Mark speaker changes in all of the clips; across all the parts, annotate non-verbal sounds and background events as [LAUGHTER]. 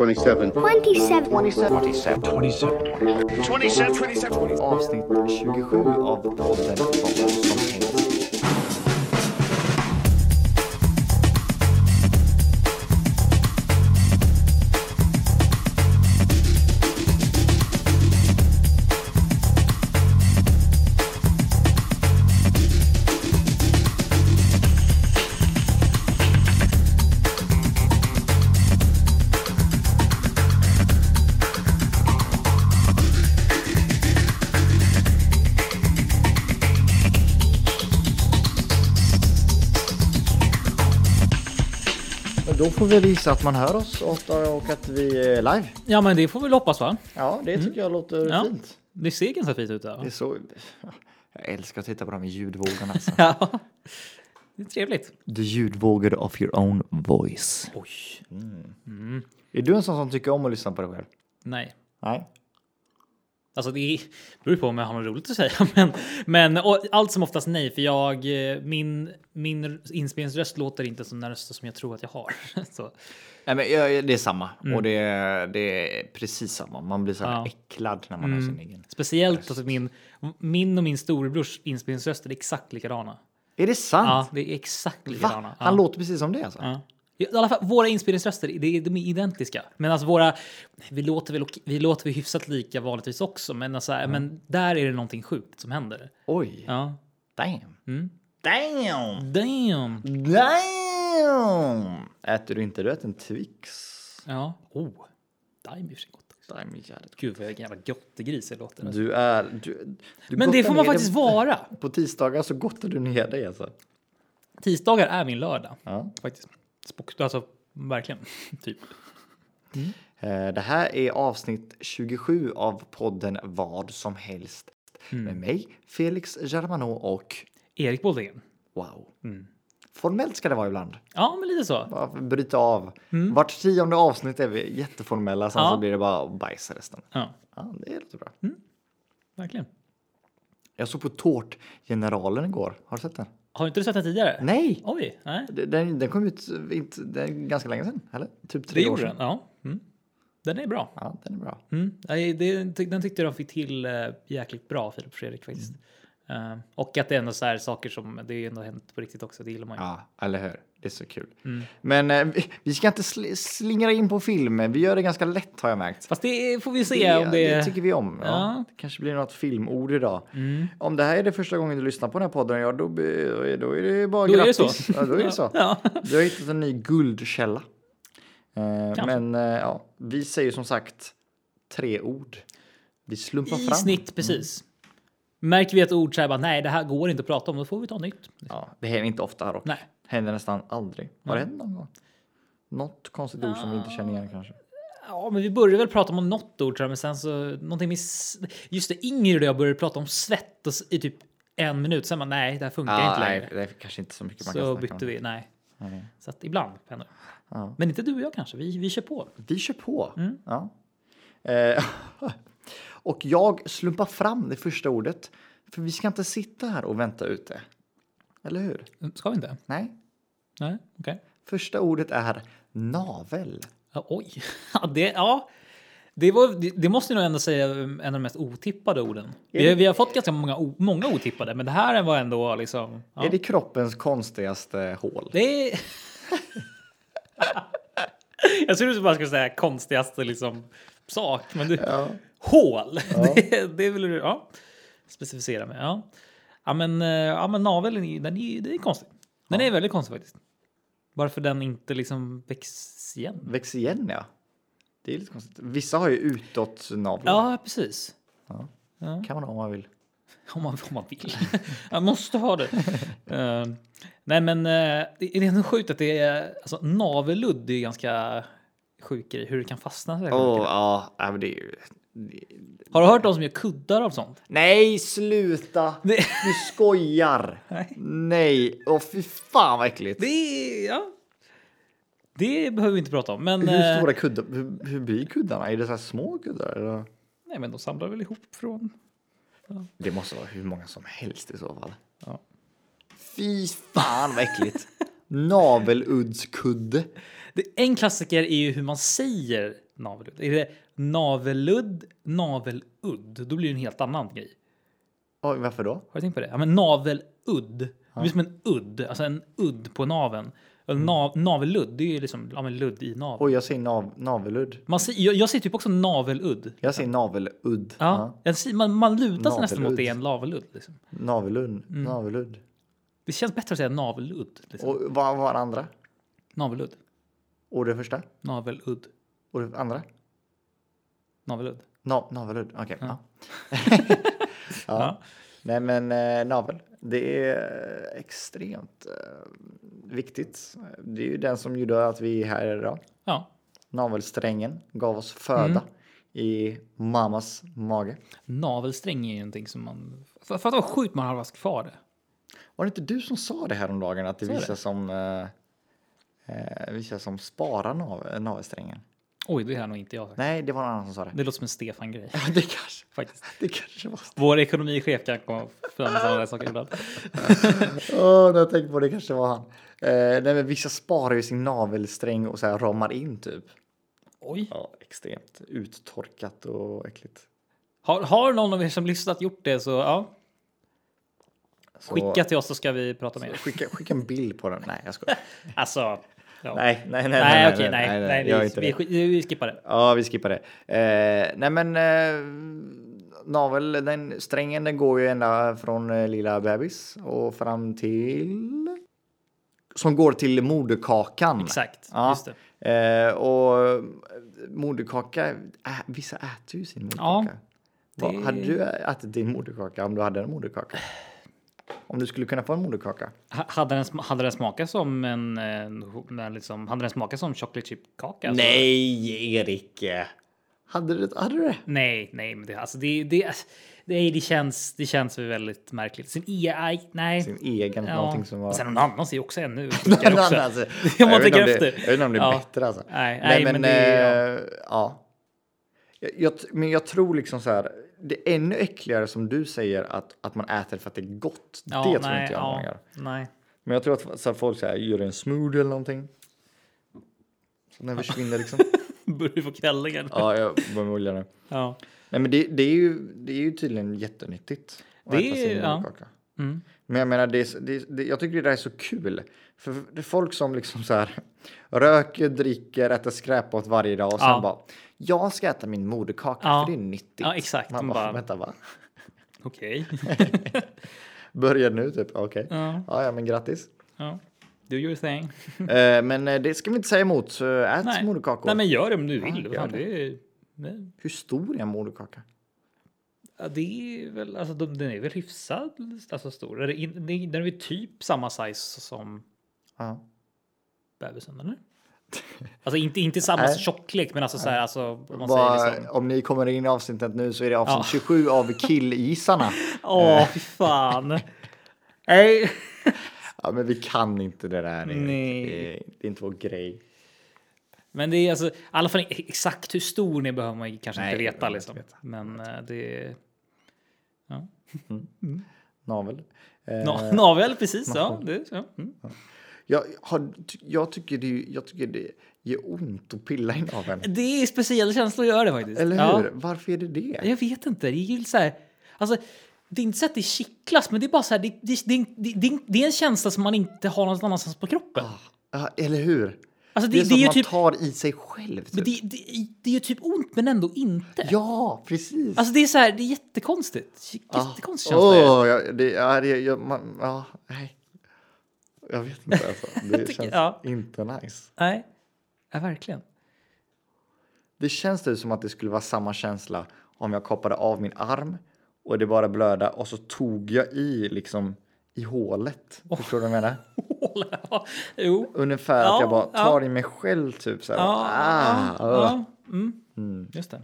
Speaker 1: 27.
Speaker 2: 27.
Speaker 3: 27.
Speaker 1: 27, 27.
Speaker 3: Avsnitt 27 av podden Vad som helst. Men Då får vi visa att man hör oss och, och att vi är live.
Speaker 4: Ja, men det får vi väl hoppas va? Mm.
Speaker 3: Ja, det tycker jag låter
Speaker 4: Ja.
Speaker 3: fint.
Speaker 4: Det ser ganska fint ut.
Speaker 3: Det är
Speaker 4: Ja.
Speaker 3: så... Jag älskar att titta på de ljudvågorna. Alltså.
Speaker 4: [LAUGHS] ja, det är trevligt.
Speaker 3: [LAUGHS] The ljudvågor of your own voice.
Speaker 4: Oj.
Speaker 3: Är du en sån som tycker om att lyssna på dig själv?
Speaker 4: Nej,
Speaker 3: Nej.
Speaker 4: alltså det är- beror på om jag har något roligt att säga, [LAUGHS] men, men och allt som oftast nej, för jag eh, min min inspelningsröst låter inte som den röst som jag tror att jag har. [LAUGHS] Så,
Speaker 3: Nej, men jag- jag- det är samma. Och det, är- det är precis samma. Man blir så här
Speaker 4: Mm. Ja. Mm.
Speaker 3: äcklad när man hör sin egen.
Speaker 4: speciellt att min min och min storebrors inspelningsröster är exakt likadana.
Speaker 3: Är det sant?
Speaker 4: Ja, det är exakt likadana.
Speaker 3: Va?
Speaker 4: Ja.
Speaker 3: Han låter precis som det alltså?
Speaker 4: Ja. I alla fall, våra inspelningsröster det är, de är identiska. Men alltså våra, vi låter väl ok- vi låter väl hyfsat lika vanligtvis också, men, alltså, men där är det någonting sjukt som händer.
Speaker 3: Oj.
Speaker 4: Ja.
Speaker 3: Damn.
Speaker 4: Mm.
Speaker 3: Damn.
Speaker 4: Damn!
Speaker 3: Damn! Äter du inte du äter en Twix?
Speaker 4: Ja. Oh, daim är för sig gott.
Speaker 3: Damn, jävligt.
Speaker 4: Gud, vad jävla gottegris jag låter.
Speaker 3: Du är... Du, du
Speaker 4: Men det
Speaker 3: gottar
Speaker 4: får man
Speaker 3: ner
Speaker 4: faktiskt
Speaker 3: dig.
Speaker 4: vara.
Speaker 3: På tisdagar så gottar du ner dig alltså.
Speaker 4: Tisdagar är min lördag.
Speaker 3: Ja.
Speaker 4: Faktiskt. Spok- alltså, verkligen. [LAUGHS] typ.
Speaker 3: Eh, Det här är avsnitt 27 av podden Vad som helst.
Speaker 4: Mm.
Speaker 3: Med mig, Felix Germano och
Speaker 4: Erik Boldén.
Speaker 3: wow.
Speaker 4: Mm.
Speaker 3: Formellt ska det vara ibland.
Speaker 4: Ja, men lite så.
Speaker 3: Bara för att bryta av. Vart tionde avsnitt är vi jätteformella, sen
Speaker 4: Mm. Ja. Mm.
Speaker 3: så blir det bara bajs resten.
Speaker 4: Ja,
Speaker 3: Ja, det låter bra.
Speaker 4: verkligen.
Speaker 3: Jag såg på Tårtgeneralen igår. Har du sett den?
Speaker 4: Har inte du sett den tidigare?
Speaker 3: Nej!
Speaker 4: Oj, nej.
Speaker 3: Det- Den, den kom ut inte, den, ganska länge sedan, eller? Typ
Speaker 4: Det
Speaker 3: tre år
Speaker 4: gjorde
Speaker 3: sedan.
Speaker 4: den. Ja. Mm. Den är bra.
Speaker 3: Ja, den är bra.
Speaker 4: Mm. nej, det- ty- Den tyckte de fick till eh, jäkligt bra, Filip och Fredrik faktiskt. Eh, och att det är ändå så här saker som det är ändå hänt på riktigt också. Det gillar man ju.
Speaker 3: Ja, eller hur? Det är så kul.
Speaker 4: Mm.
Speaker 3: Men eh, vi, vi ska inte sl- slingra in på film. Vi gör det ganska lätt har jag märkt.
Speaker 4: Fast det får vi se om det,
Speaker 3: det tycker vi om. Ja.
Speaker 4: Ja. Mm.
Speaker 3: Det kanske blir något filmord idag. Om det här är det första gången du lyssnar på den här podden, ja, då, be- då är det bara
Speaker 4: Då är det
Speaker 3: grattis.
Speaker 4: så.
Speaker 3: Ja, då är det så.
Speaker 4: [LAUGHS] Ja.
Speaker 3: Du har hittat en ny guldkälla. Eh,
Speaker 4: Kanske.
Speaker 3: men eh, ja, vi säger som sagt tre ord. Vi slumpar
Speaker 4: I
Speaker 3: fram.
Speaker 4: snitt, precis. Märker vi ett ord så här bara, nej, det här går inte att prata om, då får vi ta nytt.
Speaker 3: Ja, det händer inte ofta här dock.
Speaker 4: Nej.
Speaker 3: Händer nästan aldrig. Har det hänt någon gång? Något konstigt ord som vi inte känner igen kanske.
Speaker 4: Ja, men vi började väl prata om något ord tror jag, men sen så någonting med... s- Just det, Ingrid och jag började prata om svett och, s- i typ en minut, sen bara, Ah, nej, det här funkar inte längre.
Speaker 3: nej, det är kanske inte så mycket man kan
Speaker 4: Så
Speaker 3: snacka om.
Speaker 4: bytte vi, nej. Så att ibland händer det.
Speaker 3: Ja.
Speaker 4: Men inte du och jag kanske, vi, vi kör på.
Speaker 3: Vi kör på.
Speaker 4: Mm.
Speaker 3: Ja. Eh, [LAUGHS] och jag slumpar fram det första ordet. För vi ska inte sitta här och vänta ute. Eller hur?
Speaker 4: Ska vi inte?
Speaker 3: Nej.
Speaker 4: Nej, okej.
Speaker 3: Första ordet är navel.
Speaker 4: Ja, oj, [LAUGHS] ja, det, ja. Det, var, det, det måste jag nog ändå säga en av de mest otippade orden. Vi, vi har fått ganska många, o- många otippade, men det här var ändå liksom... Ja.
Speaker 3: Är det kroppens konstigaste hål?
Speaker 4: Det är... [LAUGHS] Jag trodde du bara skulle säga konstigaste liksom, sak, men du... Hål! [LAUGHS] Det, det vill du ja, specificera med. Ja. Ja, men, eh, ja, men naveln är, den är, den är konstig. Den är väldigt konstig faktiskt. Varför den inte liksom väcks igen.
Speaker 3: Väx igen ja. Det är lite konstigt. Vissa har ju utåt navlar.
Speaker 4: Ja, precis.
Speaker 3: Kan man ha om man vill.
Speaker 4: Om man, om man vill. [LAUGHS] Man måste ha det. Eh, nej, men eh, det är ändå sjukt att det är... Alltså, navelludd är ju ganska sjuk grej. Hur det kan fastna. så här.
Speaker 3: Åh, ja, ja, men det är ju...
Speaker 4: Har du hört de som gör kuddar av sånt?
Speaker 3: Nej, sluta!
Speaker 4: Det,
Speaker 3: Du skojar!
Speaker 4: Nej.
Speaker 3: Nej, åh fy fan vad äckligt.
Speaker 4: [LAUGHS] det, är- ja. det behöver vi inte prata om. Men,
Speaker 3: Hur
Speaker 4: eh,
Speaker 3: stora kuddar, hur, hur blir kuddarna? Är det så här små kuddar? Eller?
Speaker 4: nej, men de samlar väl ihop från...
Speaker 3: Det måste vara hur många som helst i så fall.
Speaker 4: Ja.
Speaker 3: Fy fan vad äckligt. Naveludskudde.
Speaker 4: Det, en klassiker är ju hur man säger Naveludd. Är det naveludd, naveludd, då blir det en helt annan grej.
Speaker 3: Oj, varför då?
Speaker 4: Har du tänkt på det? Ja, men naveludd. Det blir som en udd, alltså en udd på naven. Alltså, Nav, naveludd, det är ju liksom ja, men ludd i naveln.
Speaker 3: Oj, jag säger nav, naveludd.
Speaker 4: Man, ser- jag, jag ser typ också naveludd.
Speaker 3: Jag säger naveludd.
Speaker 4: Ja, jag ser, man, man lutar sig nästan mot
Speaker 3: Naveludd.
Speaker 4: det än naveludd. Liksom.
Speaker 3: Naveludd.
Speaker 4: Mm.
Speaker 3: Naveludd.
Speaker 4: Det känns bättre att säga naveludd. Liksom.
Speaker 3: Och vad var det andra?
Speaker 4: Naveludd,
Speaker 3: Och det första?
Speaker 4: naveludd,
Speaker 3: Och det andra?
Speaker 4: naveludd.
Speaker 3: Na, naveludd. Okej. Ja. ja.
Speaker 4: Ja.
Speaker 3: Nej, men eh, navel. Det är eh, extremt eh, viktigt. Det är ju den som gjorde att vi är här idag.
Speaker 4: Ja.
Speaker 3: Navelsträngen gav oss föda i mammas mage.
Speaker 4: Navelsträng är ju någonting som man... För, för att vad sjukt man har varit kvar det.
Speaker 3: Var det inte du som sa det här om dagen att det är
Speaker 4: Sa jag
Speaker 3: vissa som eh, eh, vissa som sparar nav, navelsträngen?
Speaker 4: Oj, det har nog inte jag sagt.
Speaker 3: Nej, det var någon annan som sa det.
Speaker 4: Det låter som en Stefan-grej
Speaker 3: Ja, det kanske,
Speaker 4: faktiskt.
Speaker 3: det kanske var.
Speaker 4: Vår ekonomichef kan komma fram med sådana där saker ibland.
Speaker 3: Åh, när jag tänkte på det kanske var han. Eh, nej, men vissa sparar ju sin navelsträng och så här ramar in typ.
Speaker 4: Oj.
Speaker 3: Ja, extremt uttorkat och äckligt.
Speaker 4: Har, har någon av er som lyssnat gjort det så ja,
Speaker 3: Så-
Speaker 4: skicka till oss så ska vi prata med er.
Speaker 3: Skicka, skicka en bild på den. Nej, jag skojar.
Speaker 4: Alltså, [LAUGHS] ja.
Speaker 3: Nej, nej, nej,
Speaker 4: nej, okej, nej, nej,
Speaker 3: gör
Speaker 4: vi,
Speaker 3: inte
Speaker 4: vi,
Speaker 3: det.
Speaker 4: sk- vi skippar det.
Speaker 3: Ja, vi skippar det. Eh, nej, men eh, navel, den strängen, den går ju ända från eh, lilla bebis och fram till. Som går till moderkakan.
Speaker 4: Exakt,
Speaker 3: Ja.
Speaker 4: just det.
Speaker 3: Eh, och eh, moderkaka, ä, vissa äter ju sin moderkaka.
Speaker 4: Ja,
Speaker 3: Vad-
Speaker 4: det-
Speaker 3: Hade du ätit din moderkaka om du hade en moderkaka? Om du skulle kunna få en moderkaka?
Speaker 4: Ha- Hade den, sm- hade den smakat som en, eh, en, en liksom, hade den smakat som chocolate chip kaka? alltså?
Speaker 3: Nej, Erik! Hade du, hade du det?
Speaker 4: Nej, nej, men det, alltså det, det, det, det, känns, det känns väl väldigt märkligt. Sen EI, nej.
Speaker 3: Sin egen,
Speaker 4: Ja.
Speaker 3: någonting som var... [LAUGHS]
Speaker 4: Sen någon annan ser ju också ännu
Speaker 3: Men
Speaker 4: sjukare också.
Speaker 3: alltså,
Speaker 4: [LAUGHS] Jag
Speaker 3: jag,
Speaker 4: måste
Speaker 3: vet inte
Speaker 4: tänka
Speaker 3: om det,
Speaker 4: efter.
Speaker 3: jag vet inte om det är
Speaker 4: Ja.
Speaker 3: bättre alltså.
Speaker 4: Nej, nej, men det är-
Speaker 3: eh, ja. Jag, jag, men jag tror liksom så här. Det är ännu äckligare som du säger att, att man äter för att det är gott.
Speaker 4: Ja,
Speaker 3: det tror
Speaker 4: nej,
Speaker 3: inte jag
Speaker 4: ja,
Speaker 3: man gör.
Speaker 4: Nej. [LAUGHS]
Speaker 3: Men jag tror att så här, folk så här, gör en smoothie eller någonting. Så
Speaker 4: [LAUGHS]
Speaker 3: den försvinner liksom.
Speaker 4: Börjar du få kvällningar? Ja.
Speaker 3: ja, jag börjar olja nu. Nej, men det, det, är ju, det är ju tydligen jättenyttigt. att
Speaker 4: Det
Speaker 3: äta
Speaker 4: är-
Speaker 3: sin
Speaker 4: ja.
Speaker 3: moderkaka.
Speaker 4: Mm.
Speaker 3: Men jag menar, det, är så- det, är- det, jag tycker det där är så kul. För det är folk som liksom så här [LAUGHS] röker, dricker, äter skräpmat varje dag och sen
Speaker 4: Ja.
Speaker 3: bara jag ska äta min moderkaka
Speaker 4: Ja.
Speaker 3: för det är nyttigt.
Speaker 4: Ja, exakt.
Speaker 3: Man
Speaker 4: Man
Speaker 3: bara,
Speaker 4: bara-
Speaker 3: vänta va?
Speaker 4: Okej.
Speaker 3: [LAUGHS] Börja nu typ, okej.
Speaker 4: Ja.
Speaker 3: Ja, ja, men grattis. [LAUGHS]
Speaker 4: ja. Do your thing.
Speaker 3: Eh, men eh, det ska vi inte säga emot. Eh, Ät
Speaker 4: Nej.
Speaker 3: moderkakor.
Speaker 4: Nej, men gör det om du vill.
Speaker 3: gör
Speaker 4: Fan,
Speaker 3: det.
Speaker 4: det. är- nej.
Speaker 3: Hur stor är en moderkaka?
Speaker 4: Ja, det är väl, alltså, de- den är väl hyfsad alltså, stor. Är det in- det är- Den är väl typ samma size som
Speaker 3: Ja.
Speaker 4: bebisen, eller? Alltså inte, inte samma
Speaker 3: Nej.
Speaker 4: tjocklek, men alltså så här, alltså, om man
Speaker 3: Vad-
Speaker 4: säger liksom.
Speaker 3: Om ni kommer in i avsnittet nu så är det avsnitt 27
Speaker 4: [LAUGHS]
Speaker 3: av Killgissarna.
Speaker 4: Åh, fy fan. Nej.
Speaker 3: ja, men vi kan inte det där. Erik.
Speaker 4: Nej.
Speaker 3: Det, är, det är inte vår grej.
Speaker 4: Men det är alltså, i alla fall exakt hur stor ni behöver man ju kanske
Speaker 3: Nej,
Speaker 4: inte
Speaker 3: det
Speaker 4: veta
Speaker 3: behöver man
Speaker 4: liksom.
Speaker 3: inte veta.
Speaker 4: Men eh, det... Ja.
Speaker 3: Navel. Eh,
Speaker 4: Na- [LAUGHS] Navel, precis. Ja, det, ja. Mm.
Speaker 3: Jag, har, ty- jag, tycker det, är- jag tycker det gör ont att pilla i naveln.
Speaker 4: det är speciella känslor att göra det faktiskt.
Speaker 3: Eller
Speaker 4: Ja.
Speaker 3: hur? Varför är det det?
Speaker 4: Jag vet inte. Det är ju så här... Alltså, det är inte så att det kittlas, men det är bara så här, det, det, det, det, det, det är en känsla som man inte har någon annanstans på kroppen.
Speaker 3: Ja, eller hur?
Speaker 4: Alltså,
Speaker 3: det,
Speaker 4: det-
Speaker 3: är som
Speaker 4: det är
Speaker 3: att
Speaker 4: ju
Speaker 3: man
Speaker 4: typ-
Speaker 3: tar i sig själv.
Speaker 4: Men
Speaker 3: Typ.
Speaker 4: det, det, det är ju typ ont, men ändå inte.
Speaker 3: Ja, precis.
Speaker 4: Alltså det är så här, det är jättekonstigt.
Speaker 3: Ah.
Speaker 4: Jättekonstig känsla. är det.
Speaker 3: Åh, jag, det, ja, det, jag, man, ja, nej. jag vet inte. Alltså.
Speaker 4: [LAUGHS]
Speaker 3: Det
Speaker 4: tycker-
Speaker 3: känns
Speaker 4: ja.
Speaker 3: inte nice.
Speaker 4: Nej, ja, verkligen. [LAUGHS]
Speaker 3: Det känns det som att det skulle vara samma känsla om jag kapade av min arm och det bara blöda och så tog jag i liksom i hålet. Förstår du vad jag menar?
Speaker 4: Ja, jo.
Speaker 3: Ungefär att
Speaker 4: Ja,
Speaker 3: jag bara
Speaker 4: ja.
Speaker 3: tar i mig själv typ så här.
Speaker 4: Ja,
Speaker 3: ah,
Speaker 4: ja,
Speaker 3: ugh.
Speaker 4: ja. Mm. Just det.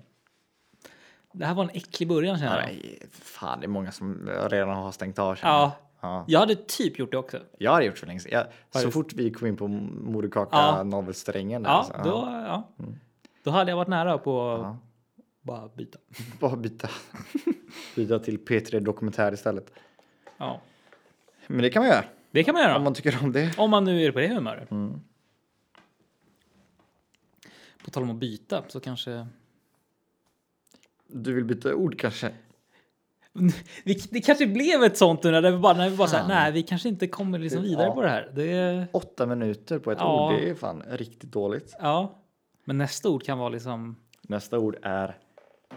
Speaker 4: Det här var en äcklig början känner jag.
Speaker 3: Nej, fan det är många som redan har stängt av känner jag.
Speaker 4: Ja.
Speaker 3: Ja.
Speaker 4: Jag hade typ gjort det också.
Speaker 3: Jag har gjort för länge sedan. Jag, så
Speaker 4: du?
Speaker 3: fort vi kom in på moderkaka
Speaker 4: Ja.
Speaker 3: navelsträngen där,
Speaker 4: Ja,
Speaker 3: så, alltså, ja. Mm.
Speaker 4: då, ja. då hade jag varit nära på att
Speaker 3: Ja.
Speaker 4: bara byta.
Speaker 3: bara byta. [LAUGHS] byta till P3 Dokumentär istället.
Speaker 4: Ja.
Speaker 3: Men det kan man Mm. göra
Speaker 4: Det kan man göra.
Speaker 3: om man tycker om det.
Speaker 4: Om man nu är på det humöret. På tal om att byta så kanske...
Speaker 3: Du vill byta ord kanske?
Speaker 4: Vi, det kanske blev ett sånt nu när vi bara, när vi bara så här,
Speaker 3: Fan.
Speaker 4: nej, vi kanske inte kommer liksom vidare
Speaker 3: Ja.
Speaker 4: på det här. Det,
Speaker 3: Åtta minuter på ett
Speaker 4: Ja.
Speaker 3: ord, det är fan riktigt dåligt.
Speaker 4: ja. Men nästa ord kan vara liksom,
Speaker 3: Nästa ord är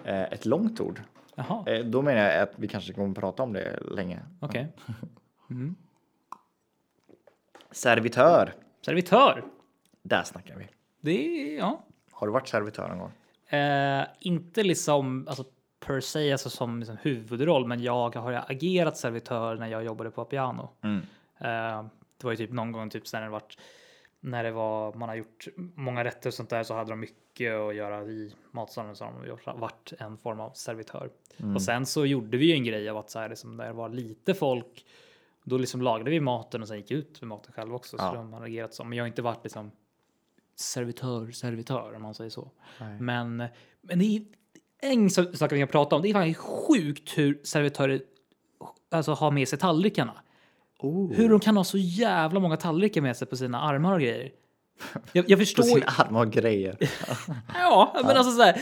Speaker 3: eh, ett långt ord.
Speaker 4: jaha, okej.
Speaker 3: Eh, då menar jag att vi kanske kommer prata om det länge. Servitör,
Speaker 4: Servitör.
Speaker 3: där snackar vi.
Speaker 4: Det är, ja.
Speaker 3: Har du varit servitör någon gång?
Speaker 4: Eh, inte liksom alltså, per se alltså, som liksom, huvudroll, men jag har ju agerat servitör när jag jobbade på Piano. Eh, det var ju typ någon gång typ sen när det vart när det var man har gjort många rätter och sånt där så hade de mycket att göra i matsalen så har de gjort- varit en form av servitör. Och sen så gjorde vi ju en grej av att så här liksom när det var lite folk då liksom lagade vi maten och sen gick ut med maten själv också.
Speaker 3: Ja.
Speaker 4: Så de har agerat som, men jag har inte varit liksom servitör, servitör om man säger så.
Speaker 3: Nej.
Speaker 4: Men, men det är en sa- sak vi kan prata om. Det är faktiskt sjukt hur servitörer alltså, har med sig tallrikarna. Hur de kan ha så jävla många tallrikar med sig på sina armar och grejer. Jag, jag
Speaker 3: På
Speaker 4: förstår
Speaker 3: sina armar och
Speaker 4: [LAUGHS]
Speaker 3: grejer.
Speaker 4: Ja, men alltså så här.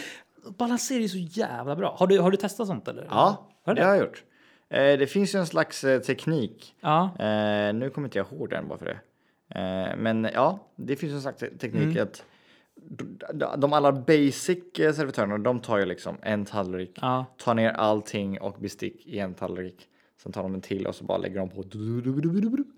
Speaker 4: Balanser är så jävla bra. Har du, har du testat sånt eller?
Speaker 3: Ja,
Speaker 4: Har du
Speaker 3: det
Speaker 4: det?
Speaker 3: har jag gjort. Eh, det finns ju en slags eh, teknik.
Speaker 4: Ja.
Speaker 3: Eh, nu kommer inte jag ihåg den bara för det. Eh, men ja, det finns ju en slags te- teknik
Speaker 4: Mm.
Speaker 3: att d- de allra basic eh, servitörerna, de tar ju liksom en tallrik,
Speaker 4: Ja.
Speaker 3: tar ner allting och bestick i en tallrik. Sen tar de en till och så bara lägger de på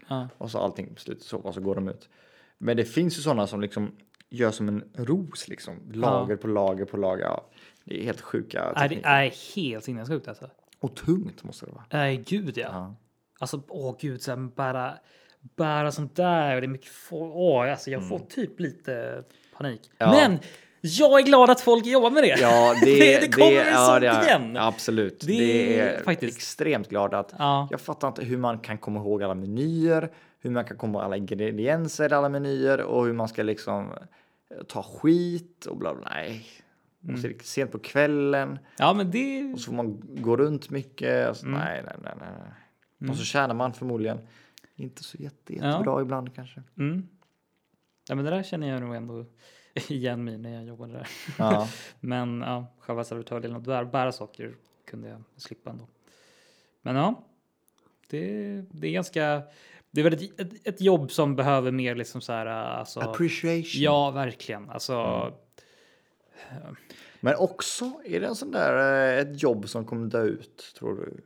Speaker 4: Ja.
Speaker 3: och så allting på slutet så, och så går de ut. Men det finns ju sådana som liksom gör som en ros liksom, lager på lager på lager. Ja, det är helt sjuka
Speaker 4: Nej, det
Speaker 3: tekniker.
Speaker 4: är helt sinnessjukt alltså.
Speaker 3: Och tungt måste det vara.
Speaker 4: Nej, Äh, gud ja.
Speaker 3: Ja.
Speaker 4: Alltså, åh gud, så här, bära, bära sånt där. och Det är mycket folk. Åh, alltså, jag får typ lite panik.
Speaker 3: Mm. Ja.
Speaker 4: Men jag är glad att folk jobbar med det.
Speaker 3: Ja, det,
Speaker 4: det, kommer
Speaker 3: ja,
Speaker 4: sånt
Speaker 3: det är-
Speaker 4: igen.
Speaker 3: Absolut.
Speaker 4: Det
Speaker 3: Det,
Speaker 4: är
Speaker 3: är
Speaker 4: faktiskt-
Speaker 3: extremt glad att
Speaker 4: [LAUGHS] Ja.
Speaker 3: jag fattar inte hur man kan komma ihåg alla menyer, hur man kan komma ihåg alla ingredienser i alla menyer och hur man ska liksom eh, ta skit och bla bla. Nej.
Speaker 4: Mm.
Speaker 3: Och så är det sent på kvällen
Speaker 4: ja, men det...
Speaker 3: och så får man gå runt mycket. Och så,
Speaker 4: Mm.
Speaker 3: Nej, nej, nej, nej. nej. Och så tjänar man förmodligen inte så jätte, jättebra ibland kanske.
Speaker 4: Mm. Ja, men det där känner jag nog ändå [LAUGHS] igen mig när jag jobbade där.
Speaker 3: Ja.
Speaker 4: Men ja, själva servitördelen att bära, bära saker kunde jag slippa ändå. Men ja, det, det är ganska... Det är väl ett, ett, ett jobb som behöver mer liksom så här...
Speaker 3: [LAUGHS]
Speaker 4: Alltså,
Speaker 3: Appreciation.
Speaker 4: ja, verkligen. Alltså,
Speaker 3: Mm. Men också, är det en sån där, eh, ett jobb som kommer dö ut tror du?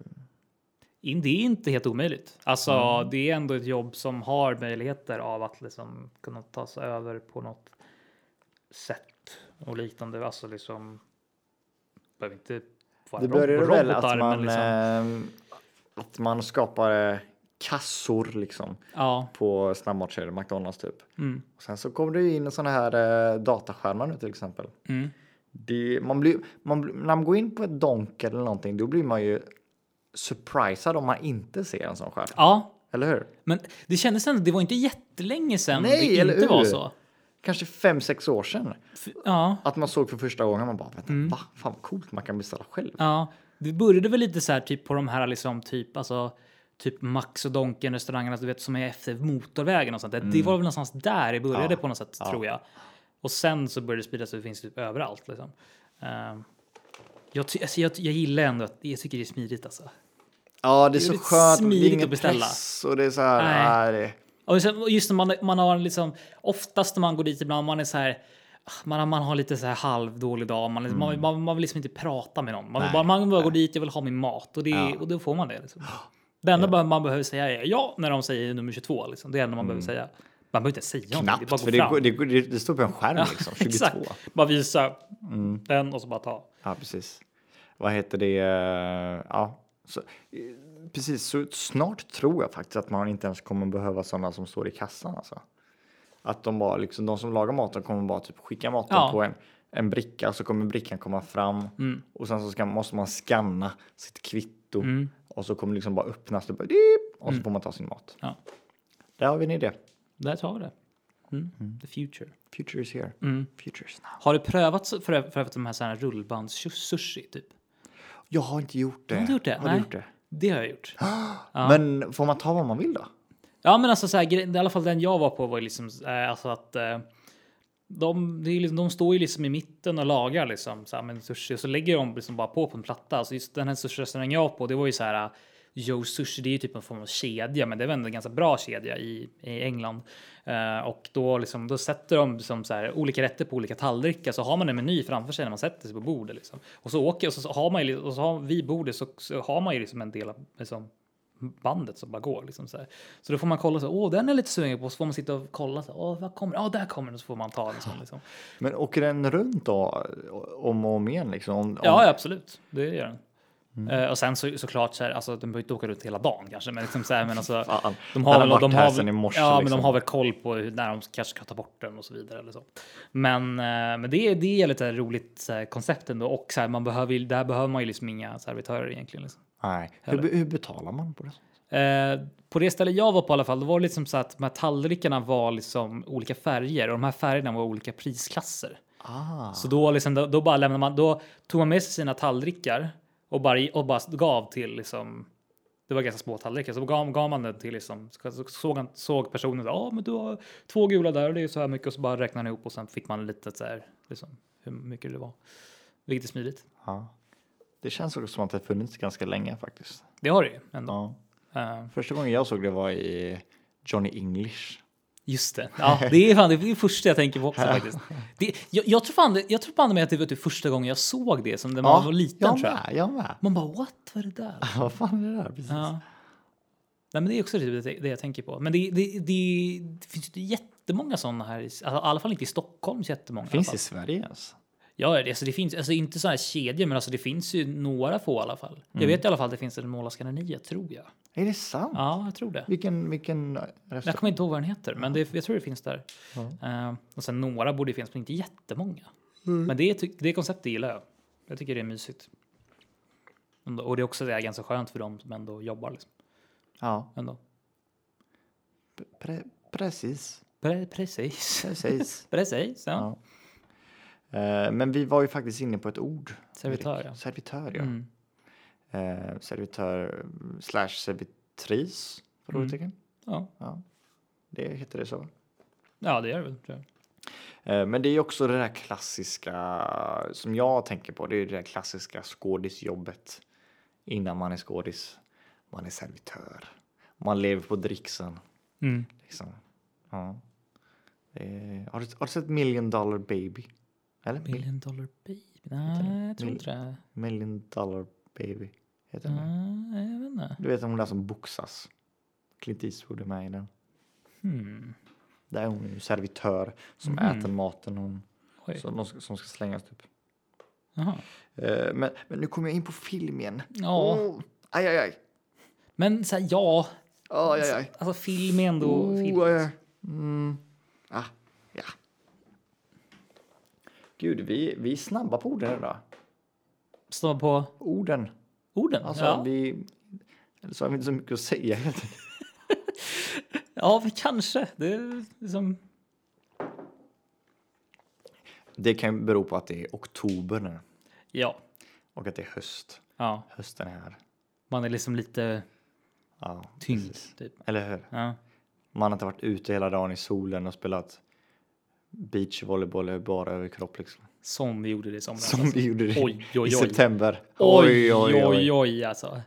Speaker 4: in- det är inte helt omöjligt. Alltså,
Speaker 3: Mm.
Speaker 4: det är ändå ett jobb som har möjligheter av att liksom kunna ta sig över på något sätt och liknande. Alltså liksom... Behöver inte vara
Speaker 3: Det
Speaker 4: ro-
Speaker 3: börjar väl
Speaker 4: robotar,
Speaker 3: att
Speaker 4: men
Speaker 3: man,
Speaker 4: liksom-
Speaker 3: ehm, att man skapar eh, kassor liksom
Speaker 4: Ja,
Speaker 3: på snabbmatskedjor, McDonalds typ.
Speaker 4: mm,
Speaker 3: Och sen så kommer det ju in sådana här eh, dataskärmar nu till exempel.
Speaker 4: mm.
Speaker 3: Det, man blir, man, blir- när man går in på ett donk eller någonting då blir man ju surprisad om man inte ser en sån skärm.
Speaker 4: ja
Speaker 3: Eller hur?
Speaker 4: Men det kändes ändå, det var inte jättelänge sedan
Speaker 3: Nej,
Speaker 4: det
Speaker 3: eller
Speaker 4: inte var
Speaker 3: hur?
Speaker 4: så.
Speaker 3: Kanske fem sex år sedan.
Speaker 4: F- Ja,
Speaker 3: Att man såg för första gången man bara vänta,
Speaker 4: Mm.
Speaker 3: va? Fan vad coolt man kan beställa själv.
Speaker 4: ja. Det började väl lite så här typ på de här liksom typ alltså typ Max och Donken restaurangerna du vet som är efter motorvägen och sånt där. Det var väl någonstans där det började
Speaker 3: Mm. Ja,
Speaker 4: på något sätt
Speaker 3: ja.
Speaker 4: tror jag. Och sen så började det spridas och det finns typ överallt liksom. Ehm, jag, ty- alltså, jag, jag gillar ändå att jag tycker det är smidigt alltså.
Speaker 3: Ja det är
Speaker 4: Det är
Speaker 3: så
Speaker 4: lite
Speaker 3: skönt. Det
Speaker 4: smidigt
Speaker 3: är ingen
Speaker 4: att beställa.
Speaker 3: press och det är så här.
Speaker 4: Nej.
Speaker 3: Nej. det,
Speaker 4: Och sen, och just när man, man har liksom, oftast när man går dit ibland, man är så här, ah, man, har- man har lite så här halvdålig dag, man, man, vill- man, man vill liksom inte prata med någon. Man
Speaker 3: Mm.
Speaker 4: vill
Speaker 3: Nej,
Speaker 4: bara, man bara går dit, jag vill ha min mat och, det, och då får man det.
Speaker 3: [GASPS]
Speaker 4: Liksom. Det enda bara man behöver säga är ja när de säger nummer 22. Liksom. Det är det enda man behöver säga. Man behöver inte säga någonting,
Speaker 3: Mm. knappt
Speaker 4: bara
Speaker 3: för
Speaker 4: gå
Speaker 3: det,
Speaker 4: fram.
Speaker 3: går- det, går- det, det står på en skärm
Speaker 4: [LAUGHS]
Speaker 3: liksom. Mm. 22.
Speaker 4: Exakt. Bara visa den och så bara ta.
Speaker 3: Ja, precis. Vad heter det? eh, Ja, så, eh, precis. Så snart tror jag faktiskt att man inte ens kommer behöva sådana som står i kassan. Alltså. Att de bara liksom, de som lagar maten kommer bara typ skicka maten
Speaker 4: Ja. Mm.
Speaker 3: på en, en bricka så kommer brickan komma fram och sen så ska, måste man scanna sitt kvitto
Speaker 4: Mm.
Speaker 3: och så kommer det liksom bara öppnas det bara, "Diip", och så får man ta sin mat.
Speaker 4: Ja.
Speaker 3: Där har vi en idé.
Speaker 4: Där tar vi det. Mm. The future.
Speaker 3: Future is here.
Speaker 4: Mm.
Speaker 3: Future is now.
Speaker 4: Har du prövat så- för, för övrigt de här, så här rullbands-sushi? Typ?
Speaker 3: Jag har inte gjort det.
Speaker 4: Har du gjort det?
Speaker 3: Har
Speaker 4: Nej.
Speaker 3: du gjort det?
Speaker 4: Det har jag gjort.
Speaker 3: Men får man ta vad man vill då?
Speaker 4: Ja, men alltså så här, gre- i alla fall den jag var på var ju liksom eh, alltså att eh, de, det är ju liksom, de står ju liksom i mitten och lagar liksom, så här, med en sushi och så lägger de liksom bara på på en platta. Alltså just den här sushi-restaurangen jag var på, det var ju så här Joe Sushi, det är ju typ en form av kedja, men det är väl ändå en ganska bra kedja i, i England. Eh, och då, liksom, då sätter de liksom så här, olika rätter på olika tallrikar, så har man en meny framför sig när man sätter sig på bordet. Liksom. Och så åker och så, så har man ju, och så har, vid bordet så, så har man ju liksom en del av liksom, bandet som bara går. Liksom så, här. så då får man kolla, så, åh den är lite sugen på, så får man sitta och kolla, så, åh vad kommer det? åh där kommer den, så får man ta den. Liksom, liksom.
Speaker 3: Men åker den runt då? Om och om igen liksom? Om, om...
Speaker 4: Ja, ja, absolut, det gör den.
Speaker 3: Mm.
Speaker 4: Eh, och sen så, såklart, så här, alltså, de behöver inte åka runt hela dagen kanske, men liksom så här, men
Speaker 3: [LAUGHS]
Speaker 4: alltså,
Speaker 3: Fan.
Speaker 4: de
Speaker 3: Den
Speaker 4: har,
Speaker 3: har
Speaker 4: väl,
Speaker 3: varit
Speaker 4: de
Speaker 3: här
Speaker 4: har,
Speaker 3: sedan
Speaker 4: väl,
Speaker 3: i morse,
Speaker 4: ja, men
Speaker 3: liksom.
Speaker 4: de har väl koll på hur, när de kanske ska ta bort den och så vidare. Eller så. Men, eh, men det, är- det är lite roligt så här, koncept ändå och så här, man behöver, ju- där behöver man ju liksom inga servitörer egentligen. Liksom.
Speaker 3: Nej. Hur, hur betalar man på det?
Speaker 4: Eh, på det stället jag var på i alla fall, då var det liksom så att de här tallrikarna var liksom olika färger och de här färgerna var olika prisklasser.
Speaker 3: Ah.
Speaker 4: Så då, liksom, då, då bara lämnade man, då tog man med sig sina tallrikar och bara, och bara gav till liksom, det var ganska små tallrikar, så gav, gav man det till liksom, så så- såg, han- såg personen, ja ah, men du har två gula där och det är så här mycket och så bara räknade han ihop och sen fick man lite så här, liksom, hur mycket det var. Vilket är smidigt.
Speaker 3: Ja. Det känns också som att det har funnits ganska länge faktiskt.
Speaker 4: Det har det ju ändå.
Speaker 3: Ja.
Speaker 4: Eh,
Speaker 3: Första gången jag såg det var i Johnny English.
Speaker 4: Just det. Ja, det är fan det, är det första jag tänker på också faktiskt. Det, jag, jag tror fan, det- jag tror fan med att det var typ första gången jag såg det som när man var liten
Speaker 3: jag
Speaker 4: tror jag.
Speaker 3: med, jag med. [LAUGHS]
Speaker 4: Man bara what var det där?
Speaker 3: Vad fan är det där? Precis.
Speaker 4: Ja. Nej, men det är också typ det, det jag tänker på. Men det, det, det, det finns ju inte jättemånga sådana här. i- Alltså, I alla fall inte i Stockholm så jättemånga. i
Speaker 3: Finns
Speaker 4: alla
Speaker 3: det i
Speaker 4: fall.
Speaker 3: Sverige ens?
Speaker 4: Ja, det- alltså, det finns alltså, inte sådana här kedjor, men alltså, det finns ju några få i alla fall. Jag vet i alla fall att det finns en Måla Scandinavia, tror jag.
Speaker 3: Är det sant?
Speaker 4: Ja, jag tror det.
Speaker 3: Vilken, vilken
Speaker 4: Jag
Speaker 3: restaurang?
Speaker 4: kommer inte ihåg vad den heter, men det, jag tror det finns där. Eh, och sen några borde det finnas, men inte jättemånga. Men det, ty- det konceptet gillar jag. Jag tycker det är mysigt. Ändå- Och det är också det är ganska skönt för dem som ändå jobbar. Liksom.
Speaker 3: Ja,
Speaker 4: Ändå.
Speaker 3: pre- precis.
Speaker 4: Pre- precis.
Speaker 3: Precis.
Speaker 4: Precis, ja.
Speaker 3: Ja. Eh, Men vi var ju faktiskt inne på ett ord.
Speaker 4: Servitör, ja.
Speaker 3: Erik. Servitör, ja.
Speaker 4: Mm.
Speaker 3: Eh, servitör mm, slash servitris.
Speaker 4: Mm.
Speaker 3: Frågetecken.
Speaker 4: ja.
Speaker 3: Ja. Det heter det så.
Speaker 4: Ja, det gör det väl. Tror jag.
Speaker 3: Eh, Men det är ju också det där klassiska som jag tänker på. Det är ju det där klassiska skådisjobbet. Innan man är skådis. Man är servitör. Man lever på dricksen.
Speaker 4: Mm.
Speaker 3: Liksom. Ja. Eh, har, du, har du sett Million Dollar Baby? Eller? Mil-
Speaker 4: Million dollar baby? Nej, jag tror inte det. Mm.
Speaker 3: Million Dollar Baby heter den.
Speaker 4: Nej, jag vet inte.
Speaker 3: Du vet hon där som boxas. Clint Eastwood är med i den.
Speaker 4: Hmm.
Speaker 3: Där är hon ju servitör som
Speaker 4: Mhm.
Speaker 3: äter maten hon,
Speaker 4: Oj.
Speaker 3: som, de ska- som ska slängas typ.
Speaker 4: Jaha.
Speaker 3: Eh, men, men nu kommer jag in på film igen.
Speaker 4: Ja.
Speaker 3: Åh, aj, aj, aj.
Speaker 4: Men så här, ja.
Speaker 3: Aj, aj, aj.
Speaker 4: Alltså film är ändå film.
Speaker 3: Oh, aj, aj. Mm. Ah, ja. Gud, vi, vi är snabba på orden idag.
Speaker 4: Står på
Speaker 3: Orden.
Speaker 4: orden.
Speaker 3: Alltså,
Speaker 4: ja.
Speaker 3: vi... Eller så har vi inte så mycket att säga. helt enkelt.
Speaker 4: ja, men kanske. Det är liksom...
Speaker 3: Det kan ju bero på att det är oktober nu
Speaker 4: Ja.
Speaker 3: och att det är höst.
Speaker 4: ja.
Speaker 3: Hösten är här.
Speaker 4: Man är liksom lite
Speaker 3: Ja,
Speaker 4: tyngd.
Speaker 3: precis.
Speaker 4: Typ.
Speaker 3: Eller hur?
Speaker 4: Ja.
Speaker 3: Man har inte varit ute hela dagen i solen och spelat beachvolleyboll över bara överkropp liksom.
Speaker 4: Som vi gjorde det i somras.
Speaker 3: [LAUGHS]
Speaker 4: alltså.
Speaker 3: Som vi gjorde det
Speaker 4: Oj, oj,
Speaker 3: i
Speaker 4: oj.
Speaker 3: september.
Speaker 4: Oj, oj, oj, oj alltså.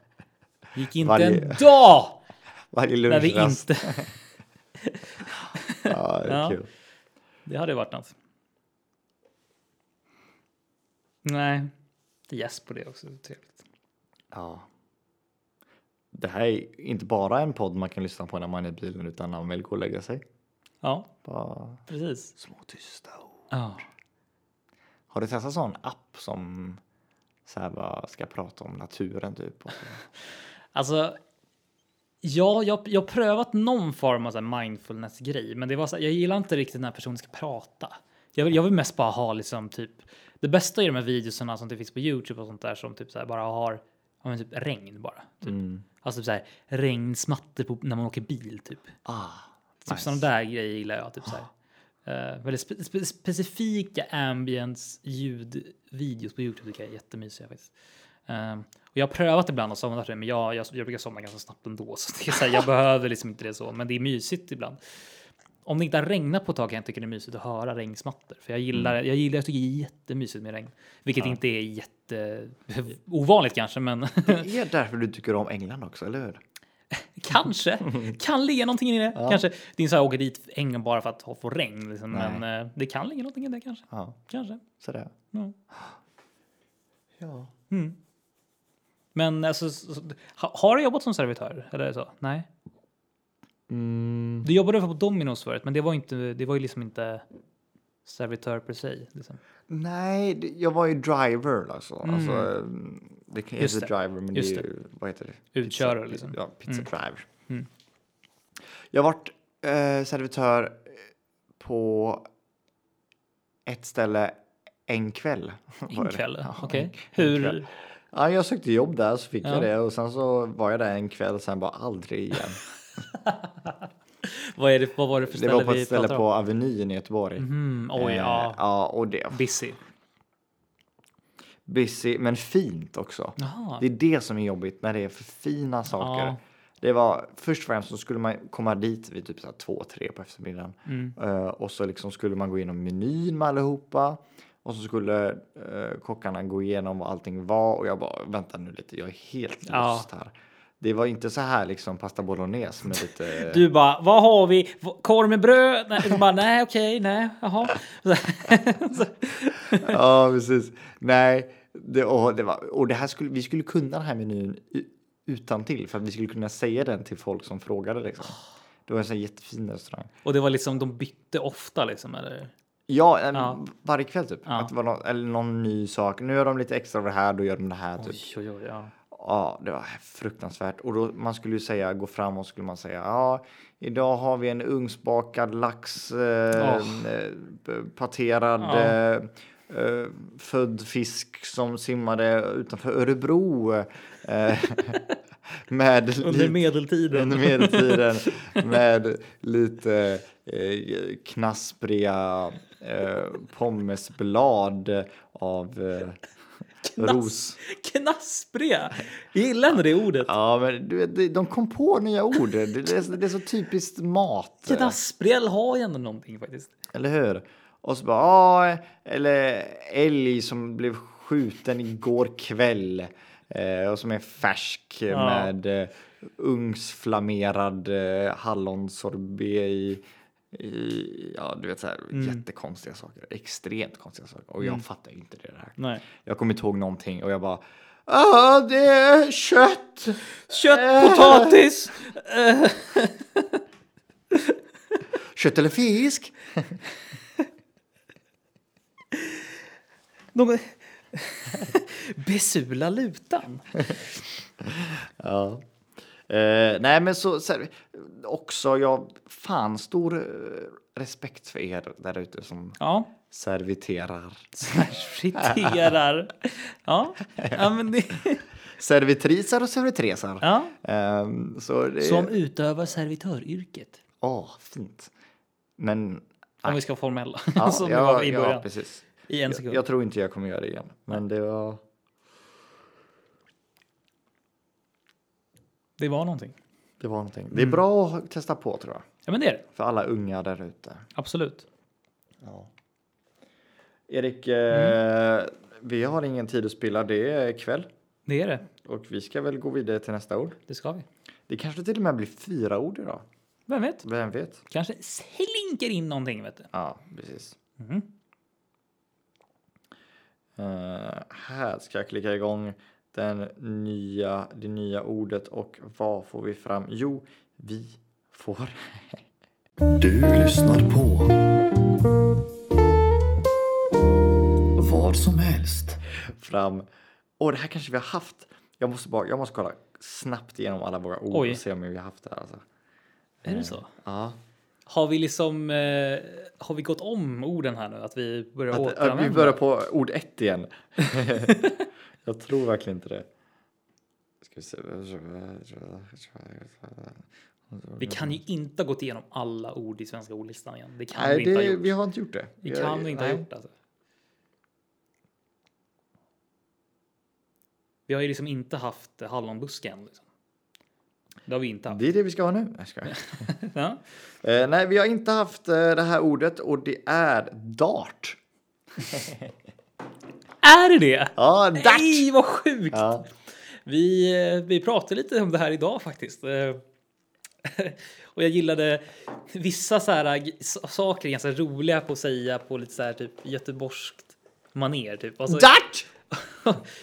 Speaker 4: Gick inte
Speaker 3: Varje-
Speaker 4: en dag
Speaker 3: Varje
Speaker 4: när vi
Speaker 3: lunchrast.
Speaker 4: inte...
Speaker 3: Ja, det är
Speaker 4: Ja.
Speaker 3: kul.
Speaker 4: Det hade varit något. Nej, det är gäss på det också. det är Trevligt.
Speaker 3: Ja. Det här är inte bara en podd man kan lyssna på när man är i bilen utan när man vill gå och lägga sig.
Speaker 4: Ja,
Speaker 3: Bara
Speaker 4: precis.
Speaker 3: små tysta ord.
Speaker 4: Ja.
Speaker 3: Har du testat sån app som så här bara ska prata om naturen typ? Och så?
Speaker 4: Alltså, ja, jag, jag har prövat någon form av så här mindfulness-grej, men det var så här, jag gillar inte riktigt när personen ska prata. Jag vill, jag vill mest bara ha liksom typ det bästa i de här videorna som det finns på Youtube och sånt där som typ så här bara har ja, men typ regn bara. Typ.
Speaker 3: Mm.
Speaker 4: Alltså typ så här regnsmatter på, när man åker bil typ.
Speaker 3: Ah,
Speaker 4: Typ sådana där grejer gillar jag. Typ så här. Eh, väldigt spe, spe, specifika ambience ljudvideos på Youtube tycker jag är jättemysiga faktiskt. Eh, och jag har prövat ibland och somnat till det, men jag, jag, jag brukar somna ganska snabbt ändå. Så det är så här, jag behöver liksom inte det så, men det är mysigt ibland. Om det inte har regnat på ett tag kan jag tycka det är mysigt att höra regnsmattor. För jag gillar, jag gillar, jag tycker det är jättemysigt med regn. Vilket inte är jätte ovanligt kanske, men
Speaker 3: Det är därför du tycker om England också, eller hur?
Speaker 4: [LAUGHS] kanske. Kan ligga någonting i det. Kanske. Det är inte så här åka dit England bara för att få regn. Liksom.
Speaker 3: Nej.
Speaker 4: Men eh, det kan ligga någonting i det kanske.
Speaker 3: Ja,
Speaker 4: Kanske.
Speaker 3: sådär.
Speaker 4: Ja.
Speaker 3: Ja.
Speaker 4: Men alltså, så- så- ha- har du jobbat som servitör? Eller så? Nej. Du jobbade på Domino's förut, men det var, inte, det var ju liksom inte servitör per se. Liksom.
Speaker 3: Nej, det- jag var ju driver alltså. alltså mm, det kan-
Speaker 4: Just
Speaker 3: heter
Speaker 4: det.
Speaker 3: driver, men
Speaker 4: Just
Speaker 3: det är ju, vad heter det?
Speaker 4: Utkörare,
Speaker 3: Pizza-
Speaker 4: liksom. Mm.
Speaker 3: Ja, pizza driver. Jag har varit eh, servitör på ett ställe en kväll. [LAUGHS] var
Speaker 4: En
Speaker 3: det.
Speaker 4: kväll.
Speaker 3: Ja,
Speaker 4: Okej.
Speaker 3: en- en
Speaker 4: Hur?
Speaker 3: kväll. Ja, jag sökte jobb där så fick
Speaker 4: Ja.
Speaker 3: jag det och sen så var jag där en kväll sen bara aldrig
Speaker 4: [LAUGHS]
Speaker 3: igen.
Speaker 4: [LAUGHS] Vad, är det, vad var det för
Speaker 3: Det
Speaker 4: ställe
Speaker 3: var på
Speaker 4: vi
Speaker 3: ett ställe
Speaker 4: pratade om?
Speaker 3: på Avenyn i Göteborg.
Speaker 4: Mm, oj,
Speaker 3: Eh,
Speaker 4: ja.
Speaker 3: ja, och det
Speaker 4: Busy.
Speaker 3: busy men fint också.
Speaker 4: Jaha.
Speaker 3: Det är det som är jobbigt när det är för fina saker.
Speaker 4: Ja.
Speaker 3: Det var först och främst så skulle man komma dit vid typ så här två, tre på eftermiddagen
Speaker 4: Mm.
Speaker 3: Eh, och så liksom skulle man gå igenom menyn med allihopa och så skulle uh, kockarna gå igenom vad allting var och jag bara vänta nu lite, jag är helt
Speaker 4: Ja.
Speaker 3: lost här. Det var inte så här liksom pasta bolognese med lite.
Speaker 4: [LAUGHS] Du bara, vad har vi? V- Korv med bröd? Nej, du bara, nej, okej, nej, jaha. [LAUGHS] Så, så,
Speaker 3: ja, precis. Nej, det, och, det var, och det här skulle, vi skulle kunna den här menyn u- utan till för att vi skulle kunna säga den till folk som frågade liksom. Det var en sån här jättefin restaurang.
Speaker 4: och det var liksom, de bytte ofta liksom, eller?
Speaker 3: Ja, en-
Speaker 4: Ja.
Speaker 3: varje kväll typ.
Speaker 4: Ja.
Speaker 3: Att det var någon, eller någon ny sak. Nu gör de lite extra av det här, då gör de det här. Typ.
Speaker 4: Oj, oj, oj, ja.
Speaker 3: Ja, det var fruktansvärt. Och då, man skulle ju säga, gå fram och skulle man säga, ja, idag har vi en ugnsbakad lax, eh,
Speaker 4: Åh.
Speaker 3: eh, p- paterad,
Speaker 4: Ja.
Speaker 3: eh, eh, född fisk som simmade utanför Örebro. Eh, [LAUGHS] med
Speaker 4: Under
Speaker 3: lite-
Speaker 4: medeltiden.
Speaker 3: under
Speaker 4: [LAUGHS]
Speaker 3: medeltiden med lite eh, knaspriga eh, pommesblad av eh, ros.
Speaker 4: Knaspriga! Jag gillar ändå det ordet.
Speaker 3: Ja, men du vet, det- de kom på nya ord. Det det är, det är så typiskt mat.
Speaker 4: Knaspriga har ju ändå någonting faktiskt.
Speaker 3: Eller hur? Och så bara, ja, eller älg som blev skjuten igår kväll. eh, Och som är färsk
Speaker 4: Ja.
Speaker 3: med eh, ugnsflammerad eh, hallonsorbet i, i, ja du vet så här
Speaker 4: Mm.
Speaker 3: jättekonstiga saker. Extremt konstiga saker. Och jag fattar ju inte det där.
Speaker 4: Nej.
Speaker 3: Jag kommer inte ihåg någonting och jag bara, ja det är kött. Eh.
Speaker 4: Kött, potatis! [LAUGHS]
Speaker 3: Kött eller fisk?
Speaker 4: De... [LAUGHS] Besula lutan.
Speaker 3: [LAUGHS] Ja. Eh, nej, men så, så här, också jag fan stor eh, respekt för er där ute som
Speaker 4: Ja.
Speaker 3: serviterar.
Speaker 4: Friterar. Ja. ja, men det... [LAUGHS]
Speaker 3: Servitriser och servitresar.
Speaker 4: Ja.
Speaker 3: Ehm, så det
Speaker 4: Som utövar servitöryrket.
Speaker 3: Åh, fint. Men
Speaker 4: [LAUGHS] Om vi ska vara formella.
Speaker 3: ja,
Speaker 4: [LAUGHS] Som vi
Speaker 3: ja,
Speaker 4: var i
Speaker 3: ja,
Speaker 4: början.
Speaker 3: precis.
Speaker 4: I en
Speaker 3: Jag,
Speaker 4: sekund.
Speaker 3: jag tror inte jag kommer göra det igen, men det var.
Speaker 4: Det var någonting.
Speaker 3: Det var någonting. Det är
Speaker 4: Mm.
Speaker 3: bra att testa på tror jag
Speaker 4: Ja, men det är det.
Speaker 3: för alla unga där ute.
Speaker 4: Absolut.
Speaker 3: Erik, eh, vi har ingen tid att spilla. Det är kväll
Speaker 4: Det är det.
Speaker 3: och vi ska väl gå vidare till nästa ord.
Speaker 4: Det ska vi.
Speaker 3: Det kanske till och med blir fyra ord idag.
Speaker 4: Vem vet?
Speaker 3: Vem vet?
Speaker 4: Kanske slinker in någonting, vet du.
Speaker 3: Ja, precis.
Speaker 4: Mhm.
Speaker 3: Eh, här ska jag klicka igång den nya, det nya ordet och vad får vi fram? Jo, vi får...
Speaker 2: Du lyssnar på vad som helst.
Speaker 3: fram... Åh, det här kanske vi har haft. Jag måste, bara, jag måste kolla snabbt igenom alla våra ord
Speaker 4: Oj.
Speaker 3: och se om vi har haft det här. Alltså.
Speaker 4: Är det så?
Speaker 3: Ja.
Speaker 4: Har vi liksom... Eh, har vi gått om orden här nu? Att vi börjar
Speaker 3: Att, att
Speaker 4: återanvända?
Speaker 3: vi börjar på ord ett
Speaker 4: [LAUGHS]
Speaker 3: igen. jag tror verkligen inte det. Ska vi se.
Speaker 4: Vi kan ju inte ha gått igenom alla ord i svenska ordlistan igen. Det kan vi
Speaker 3: Nej,
Speaker 4: inte ha
Speaker 3: det,
Speaker 4: gjort.
Speaker 3: vi har inte gjort det.
Speaker 4: Vi kan inte
Speaker 3: nej.
Speaker 4: ha gjort alltså. Vi har ju liksom inte haft eh, hallonbusken. Liksom. Det har vi inte haft.
Speaker 3: Det är det vi ska ha nu. Jag skojar.
Speaker 4: [LAUGHS] Ja.
Speaker 3: Eh, nej, vi har inte haft eh, det här ordet och det är dart.
Speaker 4: Är det det?
Speaker 3: Ja, dart!
Speaker 4: Nej, vad sjukt!
Speaker 3: Ja.
Speaker 4: Vi, eh, vi pratade lite om det här idag faktiskt. Eh, [LAUGHS] Och jag gillade vissa så här g- s- saker är ganska roliga på att säga på lite så här typ göteborgskt maner typ. Alltså,
Speaker 3: Dart!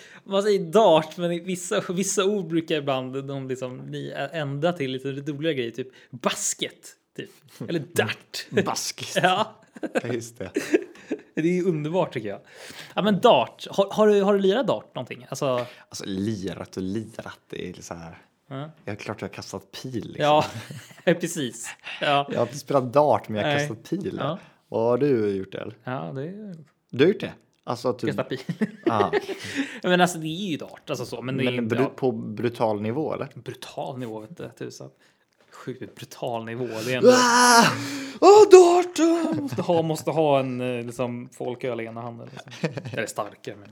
Speaker 4: [LAUGHS] man säger dart, men i vissa, vissa ord brukar ibland de liksom ni ändra till lite roligare grejer, typ basket. Typ. Eller dart.
Speaker 3: Mm. Baskis.
Speaker 4: [LAUGHS] Ja,
Speaker 3: Ja, Just det.
Speaker 4: det är underbart tycker jag. Ja, men dart. Har, har, du, har du lirat dart någonting? Alltså,
Speaker 3: Alltså lirat och lirat, det är så här.
Speaker 4: Ja.
Speaker 3: Jag är klart jag har kastat pil. Liksom.
Speaker 4: ja, [LAUGHS] precis. Ja,
Speaker 3: Jag har inte spelat dart, men jag har
Speaker 4: Nej.
Speaker 3: kastat pil.
Speaker 4: Ja.
Speaker 3: Vad har du gjort det?
Speaker 4: ja det är
Speaker 3: Du har gjort det? Alltså typ...
Speaker 4: kasta [LAUGHS] pil.
Speaker 3: Ah.
Speaker 4: men alltså det är ju dart, alltså så. Men det är
Speaker 3: Men
Speaker 4: inte,
Speaker 3: bru-
Speaker 4: ja,
Speaker 3: på brutal nivå eller?
Speaker 4: brutal nivå vet du, tusan. Sjukt brutal nivå. Det är ändå,
Speaker 3: Ah! Åh, dart!
Speaker 4: måste, ha, måste ha en eh, liksom, folköl i ena handen. Liksom. Eller starkare. Men,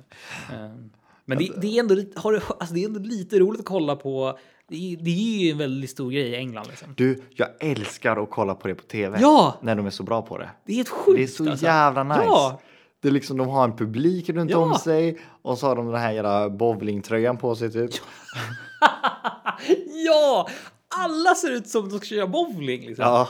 Speaker 4: Ehm, men det, det, är ändå, lite- har, du- alltså, det är ändå lite roligt att kolla på. Det är, det är ju en väldigt stor grej i England. Liksom.
Speaker 3: Du, jag älskar att kolla på det på tv.
Speaker 4: Ja!
Speaker 3: När de är så bra på det.
Speaker 4: Det är helt sjukt.
Speaker 3: Det är så
Speaker 4: alltså.
Speaker 3: jävla nice.
Speaker 4: Ja. [LAUGHS]
Speaker 3: Det är liksom, de har en publik runt
Speaker 4: Ja.
Speaker 3: om sig och så har de den här jävla bowlingtröjan på sig typ.
Speaker 4: ja! Alla ser ut som de ska köra bowling. Liksom.
Speaker 3: Ja.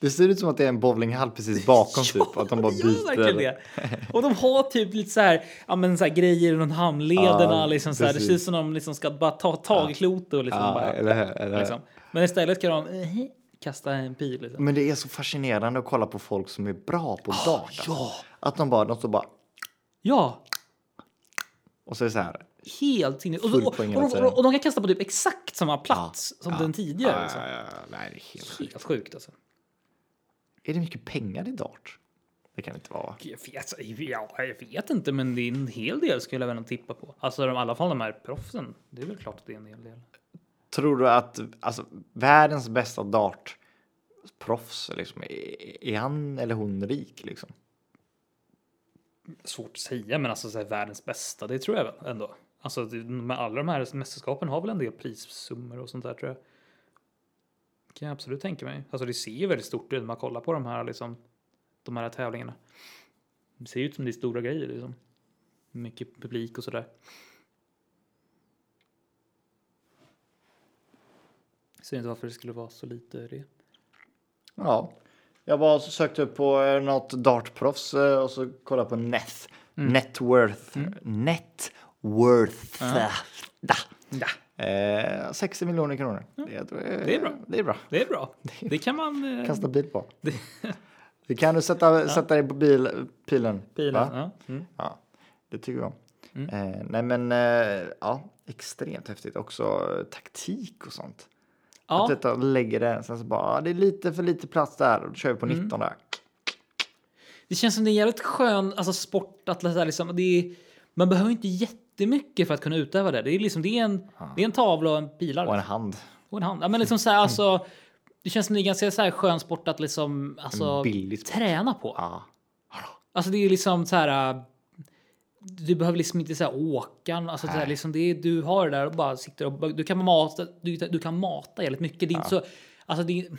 Speaker 3: Det ser ut som att det är en bowlinghall precis
Speaker 4: [LAUGHS]
Speaker 3: bakom typ. Att de bara
Speaker 4: det gör verkligen
Speaker 3: byter.
Speaker 4: det. Och de har typ lite så här, ja, men så här grejer runt hamnlederna.
Speaker 3: Ja,
Speaker 4: liksom så här. Det
Speaker 3: precis.
Speaker 4: ser ut som de liksom ska bara ta tag i klotet och liksom
Speaker 3: Ja,
Speaker 4: bara,
Speaker 3: eller hur? Eller hur?
Speaker 4: liksom. Men istället kan de eh, kasta en pil. Liksom.
Speaker 3: Men det är så fascinerande att kolla på folk som är bra på dart. alltså.
Speaker 4: ja.
Speaker 3: Att de bara, de står bara
Speaker 4: Ja,
Speaker 3: och så är det så här.
Speaker 4: helt sinne. Och,
Speaker 3: Full
Speaker 4: och, och,
Speaker 3: poäng
Speaker 4: de-
Speaker 3: hela
Speaker 4: och,
Speaker 3: tiden.
Speaker 4: de- och de kan kasta på typ exakt samma plats som den tidigare. liksom.
Speaker 3: nej, det är helt
Speaker 4: Helt sjukt alltså.
Speaker 3: Är det mycket pengar i dart? Det kan det inte vara.
Speaker 4: Jag vet, ja, jag vet inte, men det är en hel del skulle jag väl ändå tippa på. Alltså de- i alla fall de här proffsen. Det är väl klart att det är en hel del.
Speaker 3: Tror du att alltså, världens bästa dartproffs, liksom, är, är han eller hon rik? Liksom?
Speaker 4: Svårt att säga, men alltså så här, världens bästa, det tror jag väl ändå. Alltså det- med alla de här mästerskapen har väl en del prissummor och sånt där tror jag. Kan jag absolut tänka mig. Alltså det ser ju väldigt stort ut när man kollar på de här liksom. De här tävlingarna. Det ser ju ut som det är stora grejer liksom. Mycket publik och sådär. Jag ser inte varför det skulle vara så lite det.
Speaker 3: Ja, jag bara sökte upp på eh, något dartproffs eh, och så kollade på net.
Speaker 4: Mm.
Speaker 3: Networth. Networth. Da. Eh, 60 miljoner kronor. Det, tror jag-
Speaker 4: Det är bra.
Speaker 3: Det är bra.
Speaker 4: Det är bra. Det kan man... eh,
Speaker 3: Kasta bil på. Det kan du sätta, sätta dig på bil, pilen.
Speaker 4: bilen.
Speaker 3: va?
Speaker 4: Ja. Mm.
Speaker 3: Ja, det tycker jag om. Eh, nej men eh, ja, extremt häftigt också eh, taktik och sånt.
Speaker 4: Ja.
Speaker 3: Att detta lägger det, sen så bara, ah, det är lite för lite plats där och då kör vi på
Speaker 4: Mm.
Speaker 3: 19 där.
Speaker 4: Det känns som det är en jävligt skön alltså, sport att så här, liksom, det är, man behöver inte jättemycket för att kunna utöva det. Det är liksom det är en, det är en tavla och en pilare
Speaker 3: Och en hand,
Speaker 4: och en hand. Ja, men liksom så här, alltså, det känns som det är en ganska så här, skön sport att liksom alltså,
Speaker 3: En billig sport.
Speaker 4: träna på.
Speaker 3: Ja.
Speaker 4: Alltså det är liksom så här. äh, Du behöver liksom inte så här, åka. Alltså, så här, liksom det är, du har det där och bara sitter och du kan mata. Du, du kan mata jävligt mycket. Det är inte så. Alltså det är,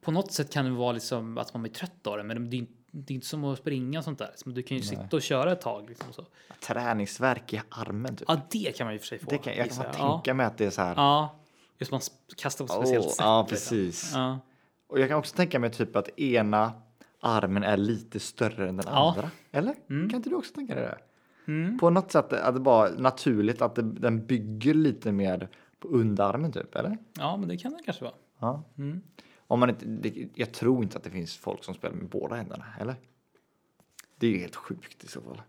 Speaker 4: på något sätt kan det vara liksom att man blir trött av det, men det är, inte- det är inte som att springa och sånt där. Liksom, Du kan ju sitta och köra ett tag. Liksom, så.
Speaker 3: träningsverk i armen typ.
Speaker 4: Ja, det kan man ju för sig få.
Speaker 3: det kan, jag kan
Speaker 4: gissar
Speaker 3: bara
Speaker 4: ja.
Speaker 3: tänka mig att det är så här.
Speaker 4: Ja, just man sp- kastar på ett
Speaker 3: "Åh,
Speaker 4: speciellt sätt.
Speaker 3: ja,
Speaker 4: liksom.
Speaker 3: precis.
Speaker 4: Ja.
Speaker 3: Och jag kan också tänka mig typ att ena armen är lite större än den
Speaker 4: Ja. Mm.
Speaker 3: andra. Eller? Kan inte du också tänka dig det? På något sätt att det bara naturligt att det, den bygger lite mer på underarmen typ, eller?
Speaker 4: ja, men det kan det kanske vara.
Speaker 3: Ja.
Speaker 4: Mm.
Speaker 3: Om man inte, det, jag tror inte att det finns folk som spelar med båda händerna, eller? Det är ju helt sjukt i så
Speaker 4: [LAUGHS]
Speaker 3: fall.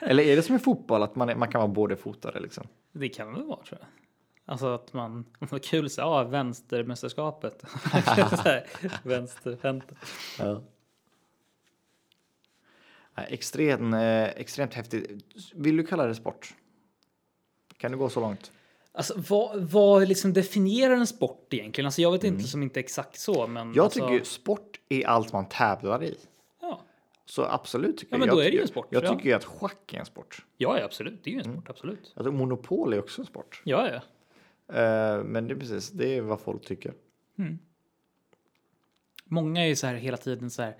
Speaker 3: eller är det som i fotboll, att man, är, man kan vara bådefotare liksom?
Speaker 4: Det kan det vara tror jag. Alltså att man, vad kul, så,
Speaker 3: [LAUGHS]
Speaker 4: ja, vänstermästerskapet. Vänsterhänt.
Speaker 3: Nej, Extremt, eh, extremt häftigt. Vill du kalla det sport? Kan du gå så långt?
Speaker 4: Alltså vad, vad liksom definierar en sport egentligen? Alltså jag vet inte som inte exakt så, men.
Speaker 3: Mm. Jag
Speaker 4: alltså,
Speaker 3: tycker ju sport är allt man tävlar i.
Speaker 4: Ja,
Speaker 3: Så absolut tycker
Speaker 4: Ja, men
Speaker 3: jag.
Speaker 4: då
Speaker 3: jag
Speaker 4: är det ju en
Speaker 3: tycker-
Speaker 4: sport,
Speaker 3: Jag
Speaker 4: ja.
Speaker 3: tycker ju att schack är en sport. Mm.
Speaker 4: ja, ja absolut. Det är ju en sport, absolut.
Speaker 3: Jag tror monopol är också en sport.
Speaker 4: Ja, ja.
Speaker 3: Eh, men det är precis, det är vad folk tycker.
Speaker 4: Många är ju så här hela tiden så här.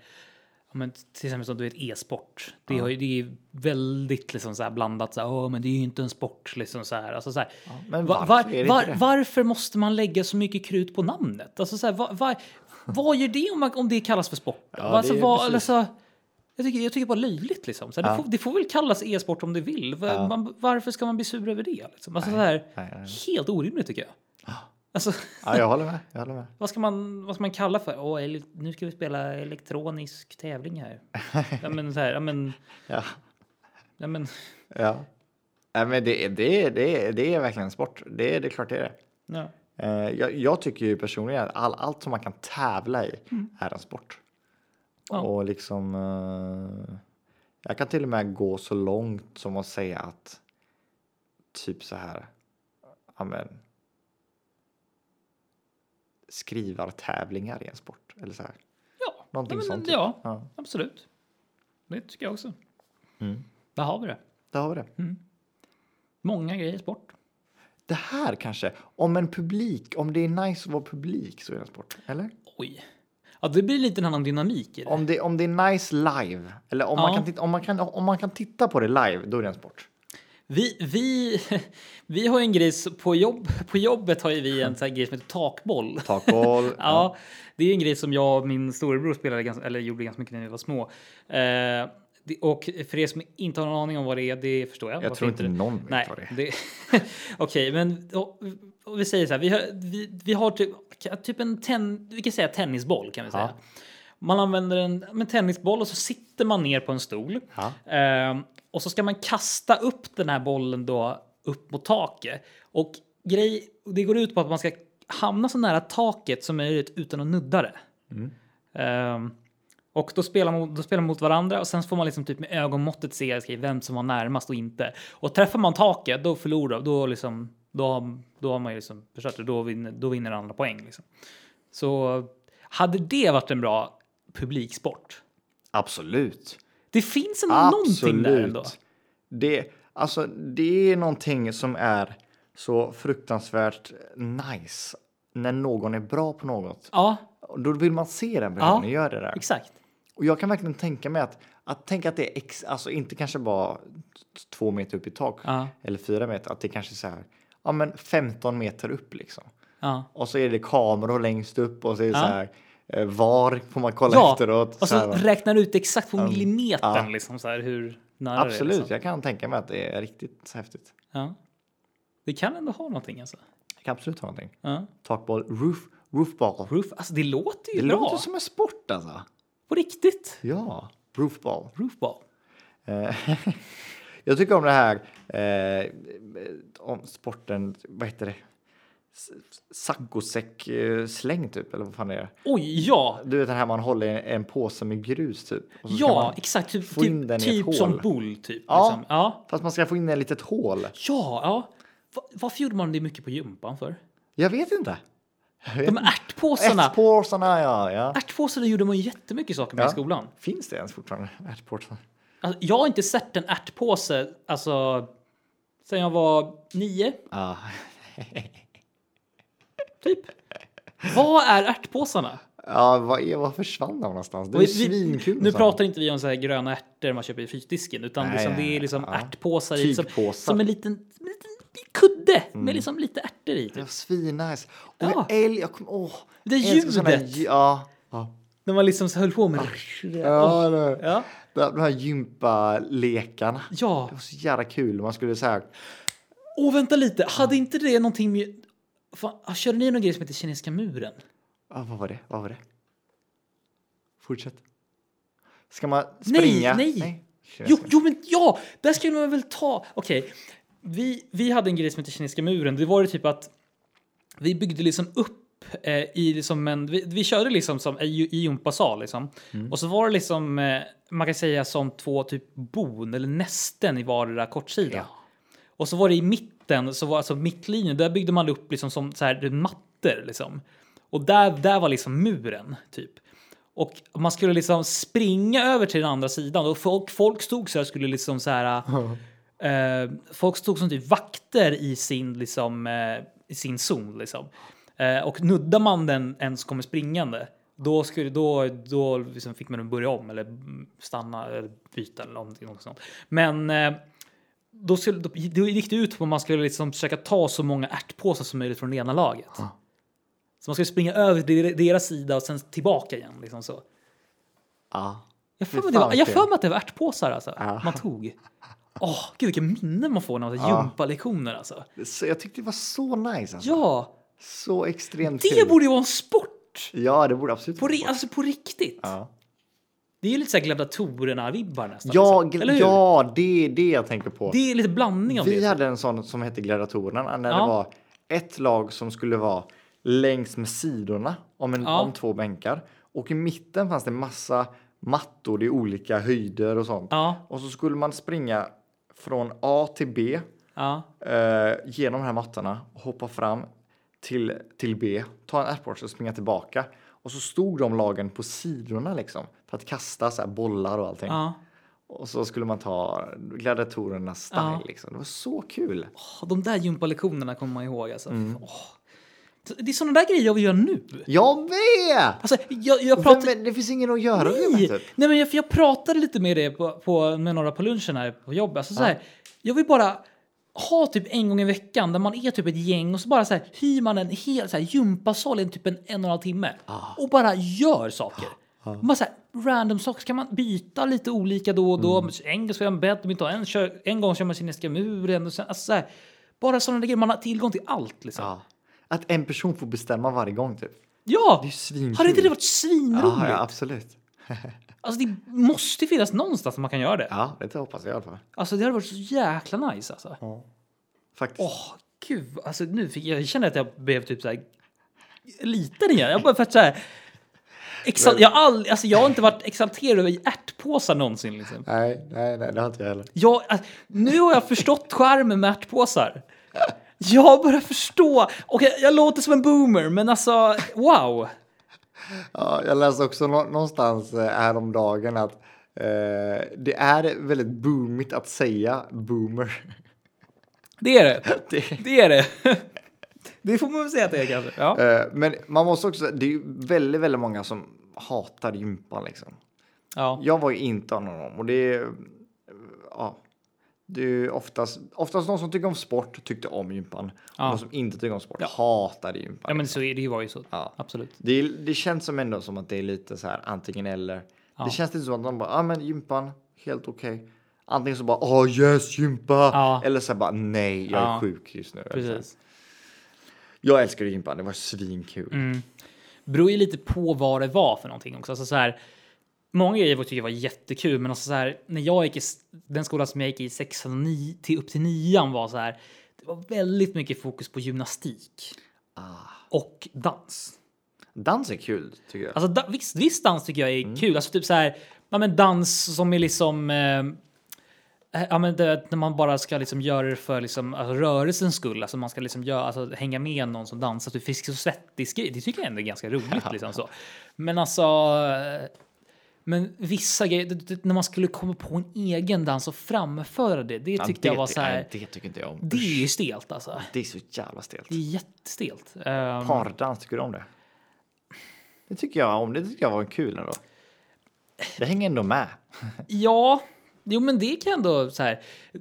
Speaker 4: Ja, men till exempel som du vet e-sport. Det, har ju, det är ju väldigt liksom så här blandat. Så här, "Åh, men det är ju inte en sport. Liksom så här. Alltså, så här
Speaker 3: men
Speaker 4: va-
Speaker 3: varför är det inte det?
Speaker 4: varför måste man lägga så mycket krut på namnet? Alltså, så här, va, va, vad gör det om, man, om det kallas för sport?
Speaker 3: Ja,
Speaker 4: alltså,
Speaker 3: det är
Speaker 4: vad-
Speaker 3: precis.
Speaker 4: alltså, jag, tycker, jag tycker bara löjligt. Liksom. Så här, det, får, det får väl kallas e-sport om det vill. Va- Man, varför ska man bli sur över det? Liksom? Alltså, så här,
Speaker 3: nej, nej.
Speaker 4: Helt orimligt tycker jag. Alltså,
Speaker 3: Ja, jag håller med. Jag håller med.
Speaker 4: vad ska man, vad ska man kalla för? Åh, ele- nu ska vi spela elektronisk tävling här.
Speaker 3: [LAUGHS]
Speaker 4: ja, men så här, ja, men,
Speaker 3: Ja.
Speaker 4: ja, men,
Speaker 3: Ja. Nej, men det, är- det, är- det, är- det är verkligen en sport. Det, är- det är klart det är det.
Speaker 4: ja.
Speaker 3: Eh, jag, jag tycker ju personligen att all, allt som man kan tävla i är en sport.
Speaker 4: Mm. Ja.
Speaker 3: Och liksom... eh, jag kan till och med gå så långt som att säga att typ så här... Ja, men, skrivartävlingar är en sport. Eller så här.
Speaker 4: ja.
Speaker 3: Någonting
Speaker 4: ja, men,
Speaker 3: sånt. typ.
Speaker 4: Ja,
Speaker 3: ja.
Speaker 4: absolut. Det tycker jag också.
Speaker 3: Mm.
Speaker 4: Där har vi det.
Speaker 3: Där har vi det.
Speaker 4: Många grejer i sport.
Speaker 3: Det här kanske. Om en publik, om det är nice att vara publik så är det en sport. Eller?
Speaker 4: Oj. Ja, det blir lite en annan dynamik i det.
Speaker 3: Om det, om det är nice live. Eller om, man
Speaker 4: Ja.
Speaker 3: kan titta, om, man kan, om man kan titta på det live, då är det en sport.
Speaker 4: Vi, vi, [LAUGHS] vi har ju en grej som- på, jobb, på jobbet har ju vi en sån här grej som heter takboll.
Speaker 3: [LAUGHS] Takboll.
Speaker 4: [LAUGHS] Ja, det är en grej som jag och min storebror spelade ganska, eller gjorde ganska mycket när vi var små. Eh, det, och för er som inte har någon aning om vad det är, det förstår jag. Varför
Speaker 3: tror inte någon vet
Speaker 4: Nej,
Speaker 3: vad det är.
Speaker 4: [LAUGHS] Okej, men och, och vi säger så här. Vi har, vi, vi har typ, typ en ten, vi kan säga tennisboll kan vi säga. Man använder en men tennisboll och så sitter man ner på en stol.
Speaker 3: Ja.
Speaker 4: Eh, och så ska man kasta upp den här bollen då upp mot taket. Och grej, det går ut på att man ska hamna så nära taket som möjligt utan att nudda det. Ehm, och då spelar, man, då spelar man mot varandra och sen får man liksom typ med ögonmåttet se okej, vem som var närmast och inte. Och träffar man taket, då förlorar då liksom, då, har- då har man ju liksom förstört det. Då vinner, då vinner andra poäng. Liksom. Så hade det varit en bra publiksport?
Speaker 3: Absolut.
Speaker 4: Det finns ändå Ah, någonting där ändå.
Speaker 3: Absolut. Det, alltså, det är någonting som är så fruktansvärt nice när någon är bra på något.
Speaker 4: Ja,
Speaker 3: Och Då vill man se den personen
Speaker 4: Ja.
Speaker 3: göra det där.
Speaker 4: exakt.
Speaker 3: Och jag kan verkligen tänka mig att, att tänka att det är ex, alltså inte kanske bara t- två meter upp i tak
Speaker 4: Ja.
Speaker 3: eller fyra meter, att det kanske är så här, ja men 15 meter upp liksom.
Speaker 4: Ja.
Speaker 3: Och så är det kameror längst upp och så är det
Speaker 4: Ja.
Speaker 3: så här, eh, var får man kolla
Speaker 4: Ja,
Speaker 3: efteråt.
Speaker 4: och
Speaker 3: så här,
Speaker 4: så
Speaker 3: va?
Speaker 4: räknar ut exakt på millimetern
Speaker 3: ja.
Speaker 4: liksom så här hur nära det är.
Speaker 3: Absolut,
Speaker 4: Liksom.
Speaker 3: jag kan tänka mig att det är riktigt häftigt.
Speaker 4: Ja. Det kan ändå ha någonting alltså.
Speaker 3: Jag kan absolut ha någonting.
Speaker 4: Ja.
Speaker 3: Takboll, roof, roofball.
Speaker 4: Roof, alltså det låter ju
Speaker 3: Det
Speaker 4: bra.
Speaker 3: låter som en sport alltså.
Speaker 4: På riktigt.
Speaker 3: Ja, roofball.
Speaker 4: Roofball.
Speaker 3: Eh, [LAUGHS] jag tycker om det här eh, om sporten, vad heter det? S- Saccosäck eh, släng typ, eller vad fan är det?
Speaker 4: Oj, ja.
Speaker 3: Du vet den här man håller i en påse med grus typ. och så ska
Speaker 4: Ja,
Speaker 3: man,
Speaker 4: exakt. Typ,
Speaker 3: få in den
Speaker 4: typ,
Speaker 3: i ett
Speaker 4: typ som
Speaker 3: hål.
Speaker 4: bull, typ.
Speaker 3: Ja.
Speaker 4: Liksom. Ja.
Speaker 3: Fast man ska få in en litet hål.
Speaker 4: Ja, ja. Va- Varför gjorde man det mycket på gympan för?
Speaker 3: Jag vet inte.
Speaker 4: De här ärtpåsarna.
Speaker 3: Ärtpåsarna, ja,
Speaker 4: Ah.
Speaker 3: ja.
Speaker 4: Ärtpåsarna gjorde man ju jättemycket saker med
Speaker 3: Ja.
Speaker 4: i skolan.
Speaker 3: Finns det ens fortfarande ärtpåsar?
Speaker 4: Alltså, jag har inte sett en ärtpåse, alltså, sen jag var nio,
Speaker 3: Ja.
Speaker 4: typ.
Speaker 3: [LAUGHS]
Speaker 4: Vad är ärtpåsarna?
Speaker 3: Ja, vad är, vad försvann de någonstans? Det är
Speaker 4: Och
Speaker 3: ju
Speaker 4: vi-
Speaker 3: svinkul.
Speaker 4: Nu
Speaker 3: så.
Speaker 4: pratar inte vi om så här gröna ärtor man köper i frysdisken utan
Speaker 3: Nej,
Speaker 4: liksom, det
Speaker 3: nej,
Speaker 4: är liksom
Speaker 3: ja.
Speaker 4: ärtpåsar i. Som,
Speaker 3: Tygpåsar. Mm.
Speaker 4: som en liten, en liten kudde med liksom lite ärtor i.
Speaker 3: Det
Speaker 4: Typ.
Speaker 3: var svinnice. Och
Speaker 4: Ja.
Speaker 3: jag älg, jag kommer... Åh!
Speaker 4: Det
Speaker 3: jag älskar såna här
Speaker 4: ljudet.
Speaker 3: ljud- Ja. ja.
Speaker 4: När man liksom så höll på med
Speaker 3: Ja, det-
Speaker 4: Ja.
Speaker 3: de de här gympalekarna.
Speaker 4: Ja.
Speaker 3: Det var så jävla kul. Man skulle så här...
Speaker 4: Och vänta lite, hade inte det någonting med... Fan, ah, körde ni någon grej som heter kinesiska muren?
Speaker 3: Ja, vad var det? Vad var det? Fortsätt. Ska man springa?
Speaker 4: nej. Jo, jo men ja! Där skulle man väl ta... Okej, vi, vi hade en grej som heter kinesiska muren. Det var det typ att vi byggde liksom upp eh, i liksom en... Vi, vi körde liksom som i, i gympasal liksom. Och så var det liksom, eh, man kan säga som två typ bon eller nästen i vardera kortsida.
Speaker 3: Ja.
Speaker 4: Och så var det i mitten, så var alltså mittlinjen, där byggde man upp liksom som så här mattor liksom. Och där, där var liksom muren typ. Och man skulle liksom springa över till den andra sidan och folk, folk stod så här skulle liksom så här. eh, folk stod som typ vakter i sin liksom eh, i sin zon. Liksom. Eh, och nuddar man den en som kommer springande, då, skulle, då, då liksom fick man börja om eller stanna eller byta eller någonting, någonting sånt. Men eh, då, skulle, då, då gick det ut på att man skulle liksom försöka ta så många ärtpåsar som möjligt från det ena laget. Så man skulle springa över till deras sida och sen tillbaka igen. Liksom så.
Speaker 3: Ah.
Speaker 4: Jag för mig
Speaker 3: Fy
Speaker 4: att det
Speaker 3: fan,
Speaker 4: var- jag
Speaker 3: kul.
Speaker 4: för mig att det var ärtpåsar alltså.
Speaker 3: Ja.
Speaker 4: man tog. Åh, gud vilka minnen man får när man tar
Speaker 3: Ja.
Speaker 4: gympalektioner alltså.
Speaker 3: Så jag tyckte det var så nice. Alltså.
Speaker 4: Ja,
Speaker 3: Så extremt
Speaker 4: det
Speaker 3: kul.
Speaker 4: borde ju vara en sport!
Speaker 3: Ja, det borde absolut
Speaker 4: På,
Speaker 3: vara
Speaker 4: ri- alltså på riktigt.
Speaker 3: Ja,
Speaker 4: Det är ju lite såhär gladiatorerna-vibbar nästan.
Speaker 3: ja,
Speaker 4: liksom.
Speaker 3: gl-
Speaker 4: Eller hur?
Speaker 3: ja det är det jag tänker på.
Speaker 4: Det är lite blandning av
Speaker 3: Vi
Speaker 4: det.
Speaker 3: hade en sån som hette Gladiatorerna när
Speaker 4: Ja.
Speaker 3: det var ett lag som skulle vara längs med sidorna om, en,
Speaker 4: Ja.
Speaker 3: om två bänkar och i mitten fanns det massa mattor i olika höjder och sånt.
Speaker 4: Ja,
Speaker 3: Och så skulle man springa från A till B
Speaker 4: ja,
Speaker 3: eh, genom de här mattorna och hoppa fram till, till B, ta en airport och springa tillbaka. Och så stod de lagen på sidorna liksom för att kasta så här bollar och allting.
Speaker 4: ja.
Speaker 3: Och så skulle man ta gladiatorernas style
Speaker 4: Ja.
Speaker 3: liksom. Det var så kul.
Speaker 4: Åh, De där gympalektionerna kommer man ihåg alltså.
Speaker 3: Mm.
Speaker 4: Åh. Så Det är sådana där grejer jag vill göra nu.
Speaker 3: Jag med!
Speaker 4: Alltså, jag, jag pratar...
Speaker 3: Pratar... Men det finns ingen att göra det
Speaker 4: Nej,
Speaker 3: med typ.
Speaker 4: Nej men jag, för jag pratade lite med det på, på, med några på lunchen här på jobbet. Alltså, så här, jag vill bara ha typ en gång i veckan där man är typ ett gäng och så bara så här, hyr man en hel så här, gympasal i typ en, en och en halv timme
Speaker 3: Ah.
Speaker 4: och bara gör saker. Bara så här, random saker. Så kan man byta lite olika då och då.
Speaker 3: Mm.
Speaker 4: En gång så gör man badminton, en, kör, en gång så gör man kinesiska muren. Och sen, alltså, så här, bara sådana där grejer. Man har tillgång till allt liksom.
Speaker 3: Ja. Att en person får bestämma varje gång typ.
Speaker 4: Ja!
Speaker 3: Det är ju svinkul. Ah,
Speaker 4: Hade inte det varit svinroligt?
Speaker 3: Ja, ja, absolut.
Speaker 4: Alltså det måste ju finnas någonstans där man kan göra det.
Speaker 3: Ja, det hoppas jag i alla fall.
Speaker 4: Alltså det hade varit så jäkla nice alltså. Åh
Speaker 3: Faktiskt.
Speaker 4: gud, alltså nu fick jag, jag känner att jag blev typ så här liten igen. Jag bara för att så här, exalt, jag, har all, alltså, jag har inte varit exalterad över ärtpåsar någonsin liksom.
Speaker 3: Nej, nej, nej, det har inte jag heller.
Speaker 4: Jag, alltså, nu har jag förstått skärmen med ärtpåsar. Jag börjar förstå. Och jag, jag låter som en boomer, men alltså wow.
Speaker 3: Ja, jag läste också nå- någonstans eh, häromdagen att eh, det är väldigt boomigt att säga boomer. [LAUGHS]
Speaker 4: Det är det.
Speaker 3: Det,
Speaker 4: Det är det. [LAUGHS] Det får man väl säga att det är kanske. Ja.
Speaker 3: eh, men man måste också, det är ju väldigt, väldigt många som hatar gympan liksom.
Speaker 4: ja.
Speaker 3: Jag var ju inte en av dem och det är, ja, det är ju oftast, oftast de som tycker om sport tyckte om gympan
Speaker 4: Ja.
Speaker 3: och de som inte tycker om sport hatade gympan.
Speaker 4: ja, men så är det ju var ju så.
Speaker 3: Ja.
Speaker 4: Absolut.
Speaker 3: Det, är- det känns som ändå som att det är lite så här antingen eller.
Speaker 4: Ja.
Speaker 3: Det känns lite som att de bara, ja ah, men gympan, helt okej. Antingen så bara, åh oh, yes gympa!
Speaker 4: Ja.
Speaker 3: Eller så här bara, nej jag
Speaker 4: Ja.
Speaker 3: är sjuk just nu.
Speaker 4: Precis.
Speaker 3: Jag älskar gympan, det var svinkul.
Speaker 4: Mm. beror ju lite på vad det var för någonting också. Alltså så här, många grejer tycker jag var jättekul, men alltså så här, när jag gick i s- den skolan som jag gick i sexan och ni- till upp till nian var så här. Det var väldigt mycket fokus på gymnastik och dans.
Speaker 3: Ah. Dans är kul tycker jag.
Speaker 4: Alltså da, viss, viss dans tycker jag är
Speaker 3: Mm.
Speaker 4: kul. Alltså typ så här, ja, men dans som är liksom... Eh, ja, men det, när man bara ska liksom göra det för liksom, alltså, rörelsens skull. Alltså man ska liksom göra, alltså, hänga med någon som dansar. Typ Frisk och svettig grej. Det tycker jag ändå är ganska roligt.
Speaker 3: [LAUGHS]
Speaker 4: Liksom, så. Men alltså... eh, Men vissa grejer, det, det, när man skulle komma på en egen dans och framföra det, det
Speaker 3: Ja,
Speaker 4: tyckte jag var så här.
Speaker 3: nej, det tycker inte jag om.
Speaker 4: Det är ju Mm. stelt alltså.
Speaker 3: Det är så jävla stelt.
Speaker 4: Det är jättestelt. Ehm,
Speaker 3: Pardans, tycker du om det? Det tycker jag om. Det tycker jag var kul ändå. Det hänger ändå med. [LAUGHS]
Speaker 4: Ja, jo men det kan jag ändå så här.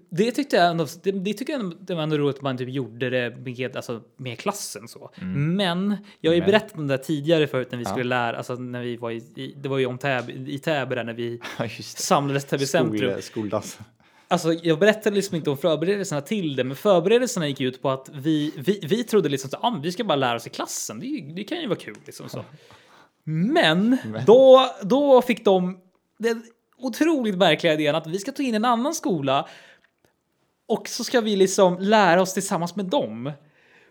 Speaker 4: Det tyckte jag ändå, det, det tycker jag ändå, det var ändå roligt att man typ gjorde det med, alltså, med klassen så. Men jag har ju
Speaker 3: Men.
Speaker 4: berättat om det där tidigare förut när vi skulle lära, alltså när vi var i, i det var ju om Täby, i Täby där när vi
Speaker 3: Ja, just
Speaker 4: samlades Täby
Speaker 3: det.
Speaker 4: centrum.
Speaker 3: Skol, skoldans.
Speaker 4: Alltså, jag berättade liksom inte om förberedelserna till det, men förberedelserna gick ut på att vi, vi, vi trodde liksom att ah, men vi ska bara lära oss i klassen. Det, är ju- det kan ju vara kul. Liksom, så. Men då, då fick de den otroligt märkliga idén att vi ska ta in en annan skola och så ska vi liksom lära oss tillsammans med dem.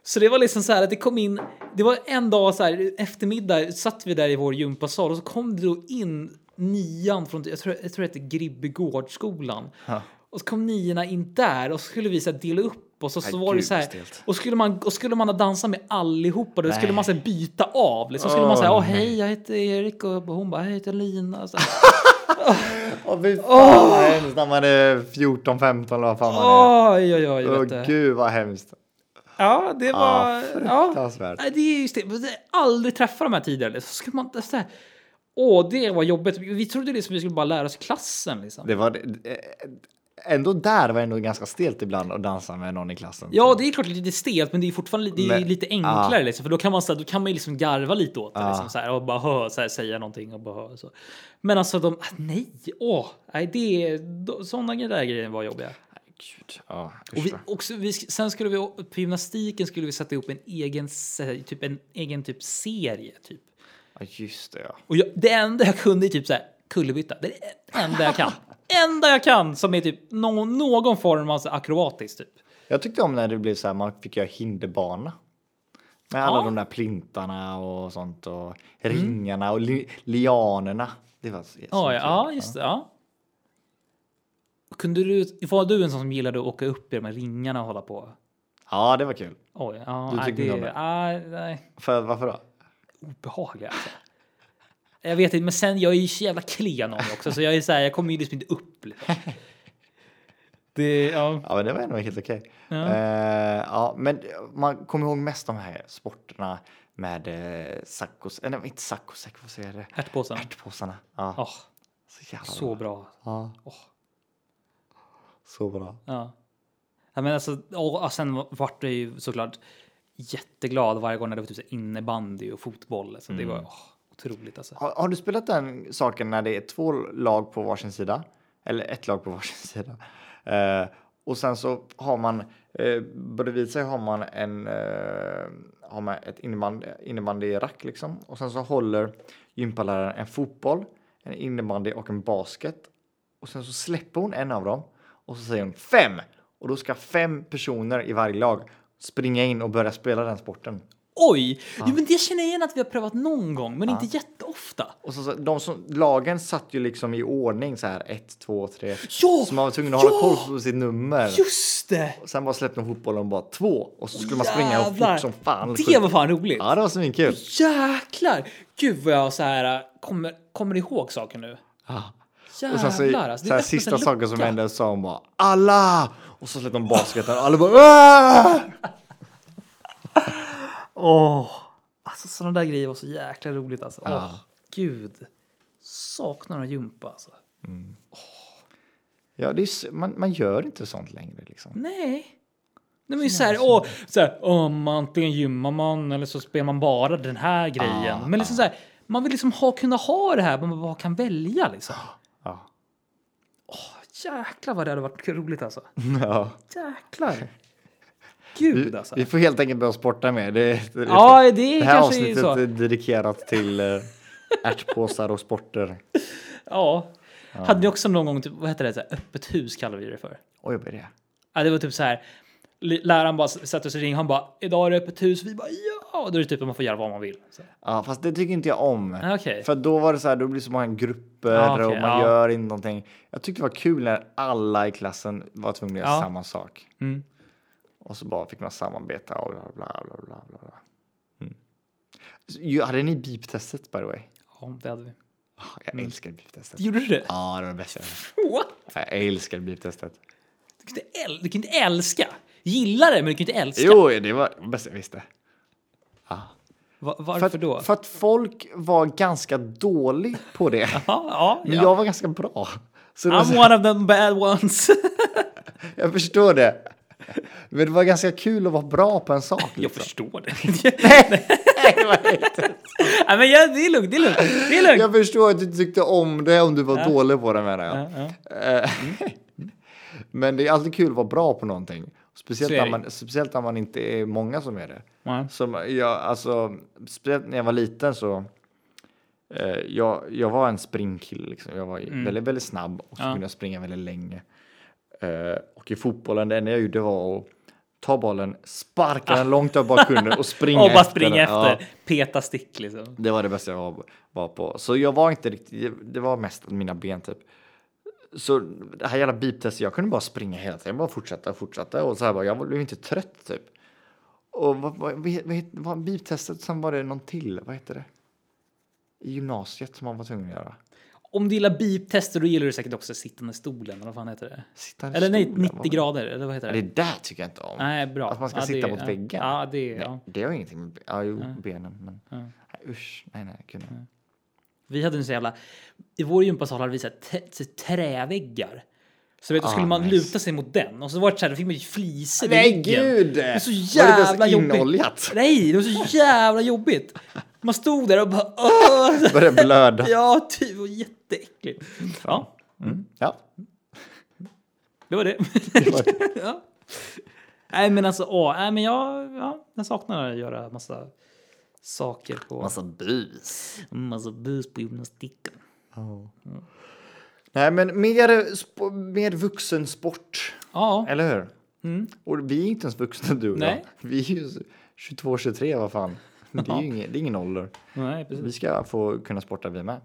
Speaker 4: Så det var liksom så här att det kom in, det var en dag så här eftermiddag satt vi där i vår gympasal och så kom det då in nian från, jag tror, jag tror det hette Gribbegårdsskolan. Och så kom niorna in där och så skulle vi så här dela upp oss och så
Speaker 3: Nej,
Speaker 4: var det
Speaker 3: gud,
Speaker 4: så här.
Speaker 3: vad stelt.
Speaker 4: Och skulle man, och skulle man ha dansat med allihopa, då skulle
Speaker 3: Nej.
Speaker 4: man så här byta av. Liksom. Så skulle man
Speaker 3: Åh,
Speaker 4: säga, åh
Speaker 3: nej.
Speaker 4: hej, jag heter Erik och hon bara, jag heter Lina. Så här.
Speaker 3: Åh, fy fan vad hemskt när man är 14, 15 eller vad fan man är.
Speaker 4: Oj, oj, oj.
Speaker 3: Åh,
Speaker 4: vet du.
Speaker 3: gud vad hemskt.
Speaker 4: Ja, det var... Ja,
Speaker 3: fruktansvärt.
Speaker 4: Nej, det är just det. Men det- Aldrig träffa de här tidigare. liksom. Så skulle man... Så här, åh, det var jobbigt. Vi trodde liksom vi skulle bara lära oss klassen. Liksom.
Speaker 3: Det var... eh, Ändå där var det ändå ganska stelt ibland att dansa med någon i klassen.
Speaker 4: Ja, det är klart lite stelt, men det är fortfarande li- det är
Speaker 3: Men-
Speaker 4: lite enklare. Liksom, för då kan man, så här, då kan man ju liksom garva lite åt det. Liksom, så här, och bara hö, så här, säga någonting. Och bara, hö, så. Men alltså, de, ah, nej, åh, nej, det, då, sådana där grejer var jobbiga.
Speaker 3: Gud, ja,
Speaker 4: Och
Speaker 3: usch
Speaker 4: vi,
Speaker 3: då.
Speaker 4: också, vi, sk- sen skulle vi, å- på gymnastiken skulle vi sätta ihop en egen, se- typ, en egen typ serie. Typ.
Speaker 3: ja, just det ja.
Speaker 4: Och jag, det enda jag kunde är typ så här, kullerbytta. Det är det enda jag kan. enda jag kan som är typ någon, någon form av så här akrobatisk typ.
Speaker 3: Jag tyckte om när det blev så här, man fick göra hinderbana. Med alla
Speaker 4: Ja. Mm.
Speaker 3: de där plintarna och sånt och ringarna och li lianerna. Det var så
Speaker 4: Ja,
Speaker 3: så
Speaker 4: ja, ja, just det. Ja. Kunde du, var du en sån som gillade att åka upp i de här ringarna och hålla på?
Speaker 3: Ja, det var kul.
Speaker 4: Oj, ja,
Speaker 3: Du
Speaker 4: nej,
Speaker 3: tyckte
Speaker 4: det,
Speaker 3: inte om det?
Speaker 4: nej, nej,
Speaker 3: För varför då?
Speaker 4: obehagligt. Alltså. Jag vet inte, men sen jag är ju så jävla klen av mig också, så jag är så här, jag kommer ju liksom inte
Speaker 3: [LAUGHS]
Speaker 4: upp. liksom. Det, ja.
Speaker 3: Ja, men det var ändå helt okej.
Speaker 4: Ja.
Speaker 3: Eh, ja, men man kommer ihåg mest de här sporterna med eh, sackos, eh, nej inte saccosäck, vad säger jag?
Speaker 4: Ärtpåsen.
Speaker 3: Ärtpåsarna. Ja,
Speaker 4: Åh,
Speaker 3: så jävla
Speaker 4: så bra.
Speaker 3: Ja,
Speaker 4: Åh,
Speaker 3: så bra.
Speaker 4: ja. ja, men alltså, och, och sen vart det ju såklart jätteglad varje gång när det var typ så här innebandy och fotboll. Alltså, Det
Speaker 3: Mm.
Speaker 4: var åh, otroligt alltså.
Speaker 3: Har, har du spelat den saken när det är två lag på varsin sida? Eller ett lag på [LAUGHS] varsin sida. Eh, och sen så har man eh, bredvid sig har man en eh, har man ett innebandy, innebandyrack liksom. Och sen så håller gympaläraren en fotboll, en innebandy och en basket. Och sen så släpper hon en av dem och så säger hon fem. Och då ska fem personer i varje lag springa in och börja spela den sporten.
Speaker 4: Oj! Jo, men det känner jag igen att vi har prövat någon gång, men inte jätteofta.
Speaker 3: Och så, så, de som, lagen satt ju liksom i ordning så här 1, 2, 3.
Speaker 4: Ja!
Speaker 3: Så man var tvungen att
Speaker 4: Ja!
Speaker 3: hålla koll på sitt nummer.
Speaker 4: Just det!
Speaker 3: Och sen bara släppte de fotbollen bara två och så skulle man springa och
Speaker 4: Jävlar.
Speaker 3: fort som fan.
Speaker 4: Det var fan roligt!
Speaker 3: Ja, det var svinkul.
Speaker 4: Jäklar! Gud vad jag så här äh, kommer, kommer ihåg saker nu.
Speaker 3: Ja.
Speaker 4: Jävlar!
Speaker 3: Och sen så,
Speaker 4: alltså,
Speaker 3: så här,
Speaker 4: öppnas en
Speaker 3: sista saken som
Speaker 4: lucka.
Speaker 3: hände sa hon bara alla! Och så släppte de basketen och alla bara "Aah!"
Speaker 4: Åh! alltså sådana där grejer var så jäkla roligt alltså. Åh,
Speaker 3: Ja.
Speaker 4: gud! Saknar en gympa alltså.
Speaker 3: Ja, det är, s- man, man gör inte sånt längre liksom.
Speaker 4: Nej. Nej, men så här, åh, så här, åh, man antingen gymmar man eller så spelar man bara den här grejen.
Speaker 3: Ah,
Speaker 4: men liksom så här, man vill liksom ha, kunna ha det här, men man bara kan välja liksom.
Speaker 3: Ja.
Speaker 4: Jäklar vad det hade varit
Speaker 3: [LAUGHS]
Speaker 4: roligt alltså.
Speaker 3: Ja.
Speaker 4: Jäklar. Gud alltså.
Speaker 3: Vi får helt enkelt börja sporta med. Det, det,
Speaker 4: Ja, det är
Speaker 3: det här
Speaker 4: kanske är
Speaker 3: avsnittet eh,
Speaker 4: så.
Speaker 3: är dedikerat till eh, ärtpåsar och sporter.
Speaker 4: Ja. Hade ni också någon gång, typ, vad heter det, så här, öppet hus kallar vi det för?
Speaker 3: Oj, vad är det?
Speaker 4: Ja, det var typ så här. li- Läraren bara s- satte oss i ring. Han bara idag är det öppet hus. Vi bara ja. Och då är det typ att man får göra vad man vill. Så.
Speaker 3: Ja, fast det tycker inte jag om.
Speaker 4: Ah, okej.
Speaker 3: För då var det så här, då blir det så många grupper
Speaker 4: Ja, okej,
Speaker 3: och man
Speaker 4: ja.
Speaker 3: gör inte någonting. Jag tyckte det var kul när alla i klassen var tvungna att göra
Speaker 4: Ja.
Speaker 3: samma sak.
Speaker 4: Mm.
Speaker 3: Och så bara fick man samarbeta och bla bla bla bla bla. bla. Mm. Så, ju- Hade ni biptestet by the way?
Speaker 4: Ja, det hade vi.
Speaker 3: Ah, Jag
Speaker 4: Mm.
Speaker 3: älskar biptestet.
Speaker 4: Gjorde du det?
Speaker 3: Ja, det var det bästa.
Speaker 4: What?
Speaker 3: Jag älskar biptestet.
Speaker 4: Du kan, inte äl- du kan inte älska. Gilla det, men du kan inte älska.
Speaker 3: Jo, det var det bästa jag visste.
Speaker 4: Va-
Speaker 3: För
Speaker 4: varför
Speaker 3: att,
Speaker 4: då?
Speaker 3: För att folk var ganska dålig på det.
Speaker 4: [LAUGHS] ja,
Speaker 3: Men
Speaker 4: ja, ja.
Speaker 3: jag var ganska bra. Så det var så
Speaker 4: I'm one of them bad ones. [LAUGHS]
Speaker 3: Jag förstår det. Men det var ganska kul att vara bra på en sak.
Speaker 4: jag
Speaker 3: Liksom. [LAUGHS]
Speaker 4: förstår det. Nej, Nej, men jag, det är lugnt. Det är lugnt. Det är lugnt.
Speaker 3: Jag förstår att du tyckte om det om du var dålig på det menar jag.
Speaker 4: Ja, ja.
Speaker 3: Eh, [LAUGHS] Men det är alltid kul att vara bra på någonting. Speciellt
Speaker 4: Så är
Speaker 3: när,
Speaker 4: det.
Speaker 3: man, speciellt när man inte är många som är det.
Speaker 4: Nej.
Speaker 3: Som jag, alltså, speciellt när jag var liten så. Eh, jag, jag var en springkille. Liksom. Jag var ju väldigt, väldigt snabb och så
Speaker 4: Mm. Ja.
Speaker 3: kunde jag springa väldigt länge. Eh, och i fotbollen, det enda jag gjorde var att ta bollen, sparka den långt jag bara kunde och springa
Speaker 4: [LAUGHS] Och bara
Speaker 3: efter
Speaker 4: springa
Speaker 3: den.
Speaker 4: efter.
Speaker 3: Ja.
Speaker 4: Peta stick liksom.
Speaker 3: Det var det bästa jag var, var på. Så jag var inte riktigt, det var mest mina ben typ. Så det här jävla biptestet, jag kunde bara springa hela tiden, bara fortsätta och fortsätta och så här bara, jag blev inte trött typ. Och vad, vad, vad, het- vad, het- vad biptestet, sen var det någon till, vad heter det? I gymnasiet som man var tvungen att göra.
Speaker 4: Om du gillar beep-tester då gillar du säkert också sittande stolen. Eller vad fan heter det?
Speaker 3: Sittande
Speaker 4: Eller nej,
Speaker 3: stolen,
Speaker 4: 90
Speaker 3: vad-
Speaker 4: grader. Eller vad heter
Speaker 3: Ja, det
Speaker 4: det?
Speaker 3: där tycker jag inte om.
Speaker 4: Nej, bra.
Speaker 3: Att man ska
Speaker 4: Ja,
Speaker 3: sitta
Speaker 4: det-
Speaker 3: mot
Speaker 4: ja.
Speaker 3: väggen.
Speaker 4: Ja, det... Ja.
Speaker 3: Nej, det har ingenting med... Ja, jo, benen. Men... Nej, usch, nej, nej. Gud, nej.
Speaker 4: Vi hade en så jävla... I vår gympasal hade vi så här tä- så här träväggar. Så vet, du,
Speaker 3: Ah,
Speaker 4: skulle man
Speaker 3: nice.
Speaker 4: luta sig mot den och så var det så här, då fick man ju flisor i
Speaker 3: Nej,
Speaker 4: ryggen.
Speaker 3: gud!
Speaker 4: Det var så
Speaker 3: Var det inte ens
Speaker 4: jävla jobbigt.
Speaker 3: inoljat?
Speaker 4: Nej, det var så jävla jobbigt. Man stod där och bara... Åh!
Speaker 3: Började blöda.
Speaker 4: [LAUGHS] Ja, typ. Det var jätteäckligt. Ja,
Speaker 3: Ja.
Speaker 4: det var det. [LAUGHS] ja. Nej, men alltså... Åh, nej, men jag, ja, jag saknar att göra massa saker på...
Speaker 3: Massa bus.
Speaker 4: massa bus på gymnastiken.
Speaker 3: Nej, men mer, sp- mer vuxensport.
Speaker 4: Ja.
Speaker 3: Eller hur? Och vi är inte ens vuxna du och
Speaker 4: Mm. Nej.
Speaker 3: jag. Vi är ju 22, 23, vad fan. Det är ju ingen, det är ingen ålder.
Speaker 4: Nej,
Speaker 3: Vi
Speaker 4: precis.
Speaker 3: ska få kunna sporta vi med.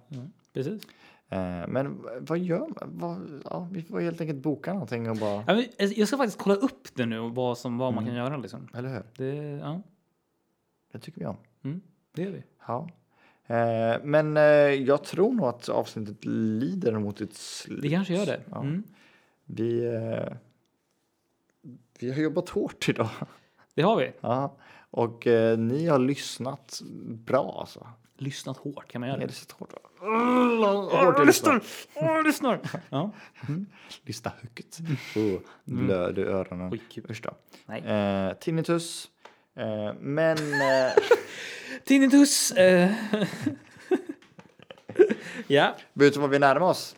Speaker 4: precis.
Speaker 3: Eh, Men vad gör man? Vad, ja, vi får helt enkelt boka någonting och bara...
Speaker 4: Ja, men Jag ska faktiskt kolla upp det nu och vad, som, vad man kan göra. Liksom.
Speaker 3: Eller hur?
Speaker 4: Det, ja,
Speaker 3: Det tycker vi om.
Speaker 4: mm, det gör vi.
Speaker 3: Ja. Eh, Men eh, jag tror nog att avsnittet lider mot ett slut.
Speaker 4: Det kanske gör det.
Speaker 3: Ja.
Speaker 4: Mm.
Speaker 3: Vi, eh, vi har jobbat hårt idag.
Speaker 4: Det har vi.
Speaker 3: Ja. Och eh, ni har lyssnat bra alltså.
Speaker 4: Lyssnat hårt, kan man göra
Speaker 3: Är
Speaker 4: det?
Speaker 3: det så hårt? Hårt att lyssna.
Speaker 4: Åh, lyssnar! Ja.
Speaker 3: Lyssna högt. Oh, blöd i öronen.
Speaker 4: Oj, kul.
Speaker 3: Usch då.
Speaker 4: Nej.
Speaker 3: Eh, tinnitus. Eh, men... Eh,
Speaker 4: Tinnitus! eh. [LAUGHS] ja.
Speaker 3: Vet du vad vi närmar oss?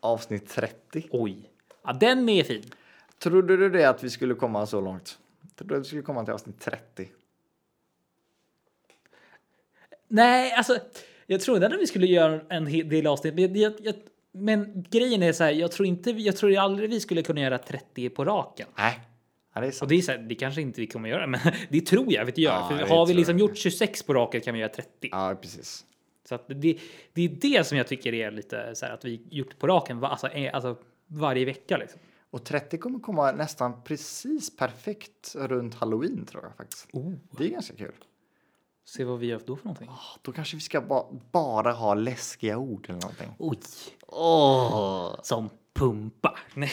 Speaker 3: Avsnitt 30.
Speaker 4: Oj. Ja, den är fin.
Speaker 3: Trodde du det att vi skulle komma så långt? Trodde du att vi skulle komma till avsnitt 30?
Speaker 4: Nej, alltså. Jag trodde att vi skulle göra en hel del avsnitt, men, jag, jag, men grejen är så här. Jag tror inte. vi- Jag tror aldrig vi skulle kunna göra 30 på raken.
Speaker 3: Nej. Ja, det är
Speaker 4: Och
Speaker 3: sant.
Speaker 4: det är så här, det kanske inte vi kommer göra, [LAUGHS] men det tror jag att vi gör.
Speaker 3: Ja, det
Speaker 4: för har
Speaker 3: tror
Speaker 4: vi liksom
Speaker 3: jag.
Speaker 4: gjort 26 på raken kan vi göra 30.
Speaker 3: Ja, precis.
Speaker 4: Så att det, det är det som jag tycker är lite så här att vi gjort på raken, va- alltså, är- alltså varje vecka liksom.
Speaker 3: Och 30 kommer komma nästan precis perfekt runt halloween tror jag faktiskt. Det är ganska kul.
Speaker 4: Se vad vi gör då för någonting.
Speaker 3: Ah, Då kanske vi ska ba- bara ha läskiga ord eller någonting.
Speaker 4: Oj,
Speaker 3: Åh! Ah!
Speaker 4: som pumpa. Nej, [LAUGHS]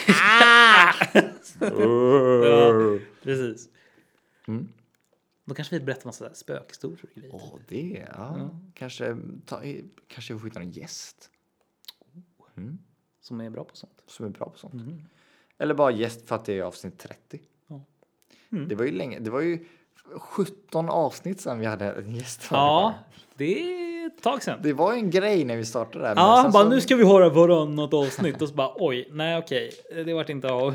Speaker 3: [LAUGHS] Åh,
Speaker 4: precis.
Speaker 3: Mm.
Speaker 4: Då kanske vi berättar massa så här spökhistorier och grejer.
Speaker 3: det, ja.
Speaker 4: Mm.
Speaker 3: Kanske, ta, kanske vi får hitta någon gäst
Speaker 4: Som är bra på sånt.
Speaker 3: som är bra på sånt. Eller bara gäst för att det är avsnitt 30.
Speaker 4: Mm. Ja.
Speaker 3: Det var ju länge, det var ju 17 avsnitt sedan vi hade en gäst.
Speaker 4: Ja, det är ett tag sedan.
Speaker 3: Det var ju en grej när vi startade det här. men
Speaker 4: Ja,
Speaker 3: sen
Speaker 4: bara
Speaker 3: så-
Speaker 4: nu ska vi höra varannat avsnitt och så bara oj, nej okej, det vart inte av.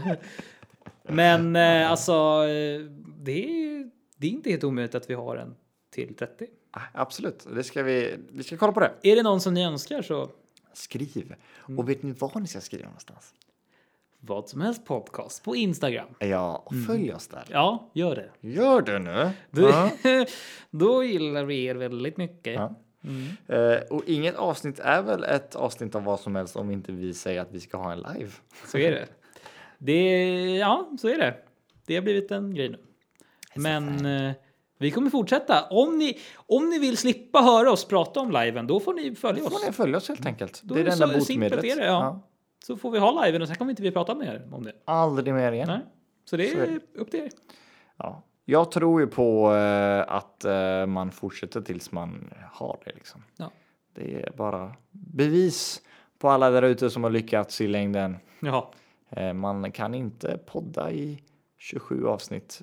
Speaker 4: Men eh, alltså, eh, det är, det är inte helt omöjligt att vi har en till 30.
Speaker 3: Ah, Absolut, det ska vi, vi ska kolla på det.
Speaker 4: Är det någon som ni önskar så
Speaker 3: Skriv.
Speaker 4: Mm.
Speaker 3: Och vet ni var ni ska skriva någonstans?
Speaker 4: vad som helst podcast på Instagram.
Speaker 3: Ja, och följ oss där.
Speaker 4: Mm. Ja, gör det.
Speaker 3: Gör det nu.
Speaker 4: Du,
Speaker 3: Ja.
Speaker 4: [LAUGHS] Då gillar vi er väldigt mycket.
Speaker 3: Ja. Eh, och inget avsnitt är väl ett avsnitt av vad som helst om inte vi säger att vi ska ha en live.
Speaker 4: Så är det. det. Ja, så är det. Det har blivit en grej nu. Men eh, vi kommer fortsätta. Om ni, om ni vill slippa höra oss prata om liven, då får ni följa
Speaker 3: Då
Speaker 4: oss.
Speaker 3: får ni följa oss helt enkelt.
Speaker 4: Då
Speaker 3: det är det enda
Speaker 4: så simpelt
Speaker 3: botemedlet.
Speaker 4: är det, ja. Så får vi ha liven och sen kommer inte vi prata mer om det.
Speaker 3: Aldrig mer igen.
Speaker 4: Nej. Så det
Speaker 3: Så är
Speaker 4: är upp till er.
Speaker 3: Ja. Jag tror ju på eh, att eh, man fortsätter tills man har det. Liksom.
Speaker 4: Ja.
Speaker 3: Det är bara bevis på alla där ute som har lyckats i längden.
Speaker 4: Jaha.
Speaker 3: Eh, man kan inte podda i 27 avsnitt.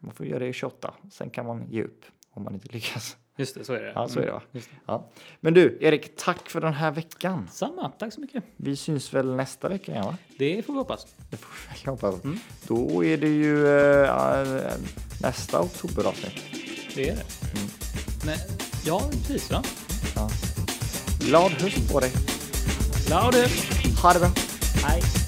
Speaker 3: Man får göra det i 28. Sen kan man ge upp om man inte lyckas.
Speaker 4: Just det, så är det. Mm.
Speaker 3: Ja, så är Mm, det va?
Speaker 4: Just det.
Speaker 3: Ja. Men du, Erik, tack för den här veckan.
Speaker 4: Samma, tack så mycket.
Speaker 3: Vi syns väl nästa vecka igen, va?
Speaker 4: Det får vi hoppas.
Speaker 3: Det får vi väl hoppas. Då är det ju eh, eh, nästa oktoberavsnitt.
Speaker 4: Det är det.
Speaker 3: Mm.
Speaker 4: Men, ja, precis. Va?
Speaker 3: Glad höst på dig.
Speaker 4: Louder!
Speaker 3: Ha det bra.
Speaker 4: Hej!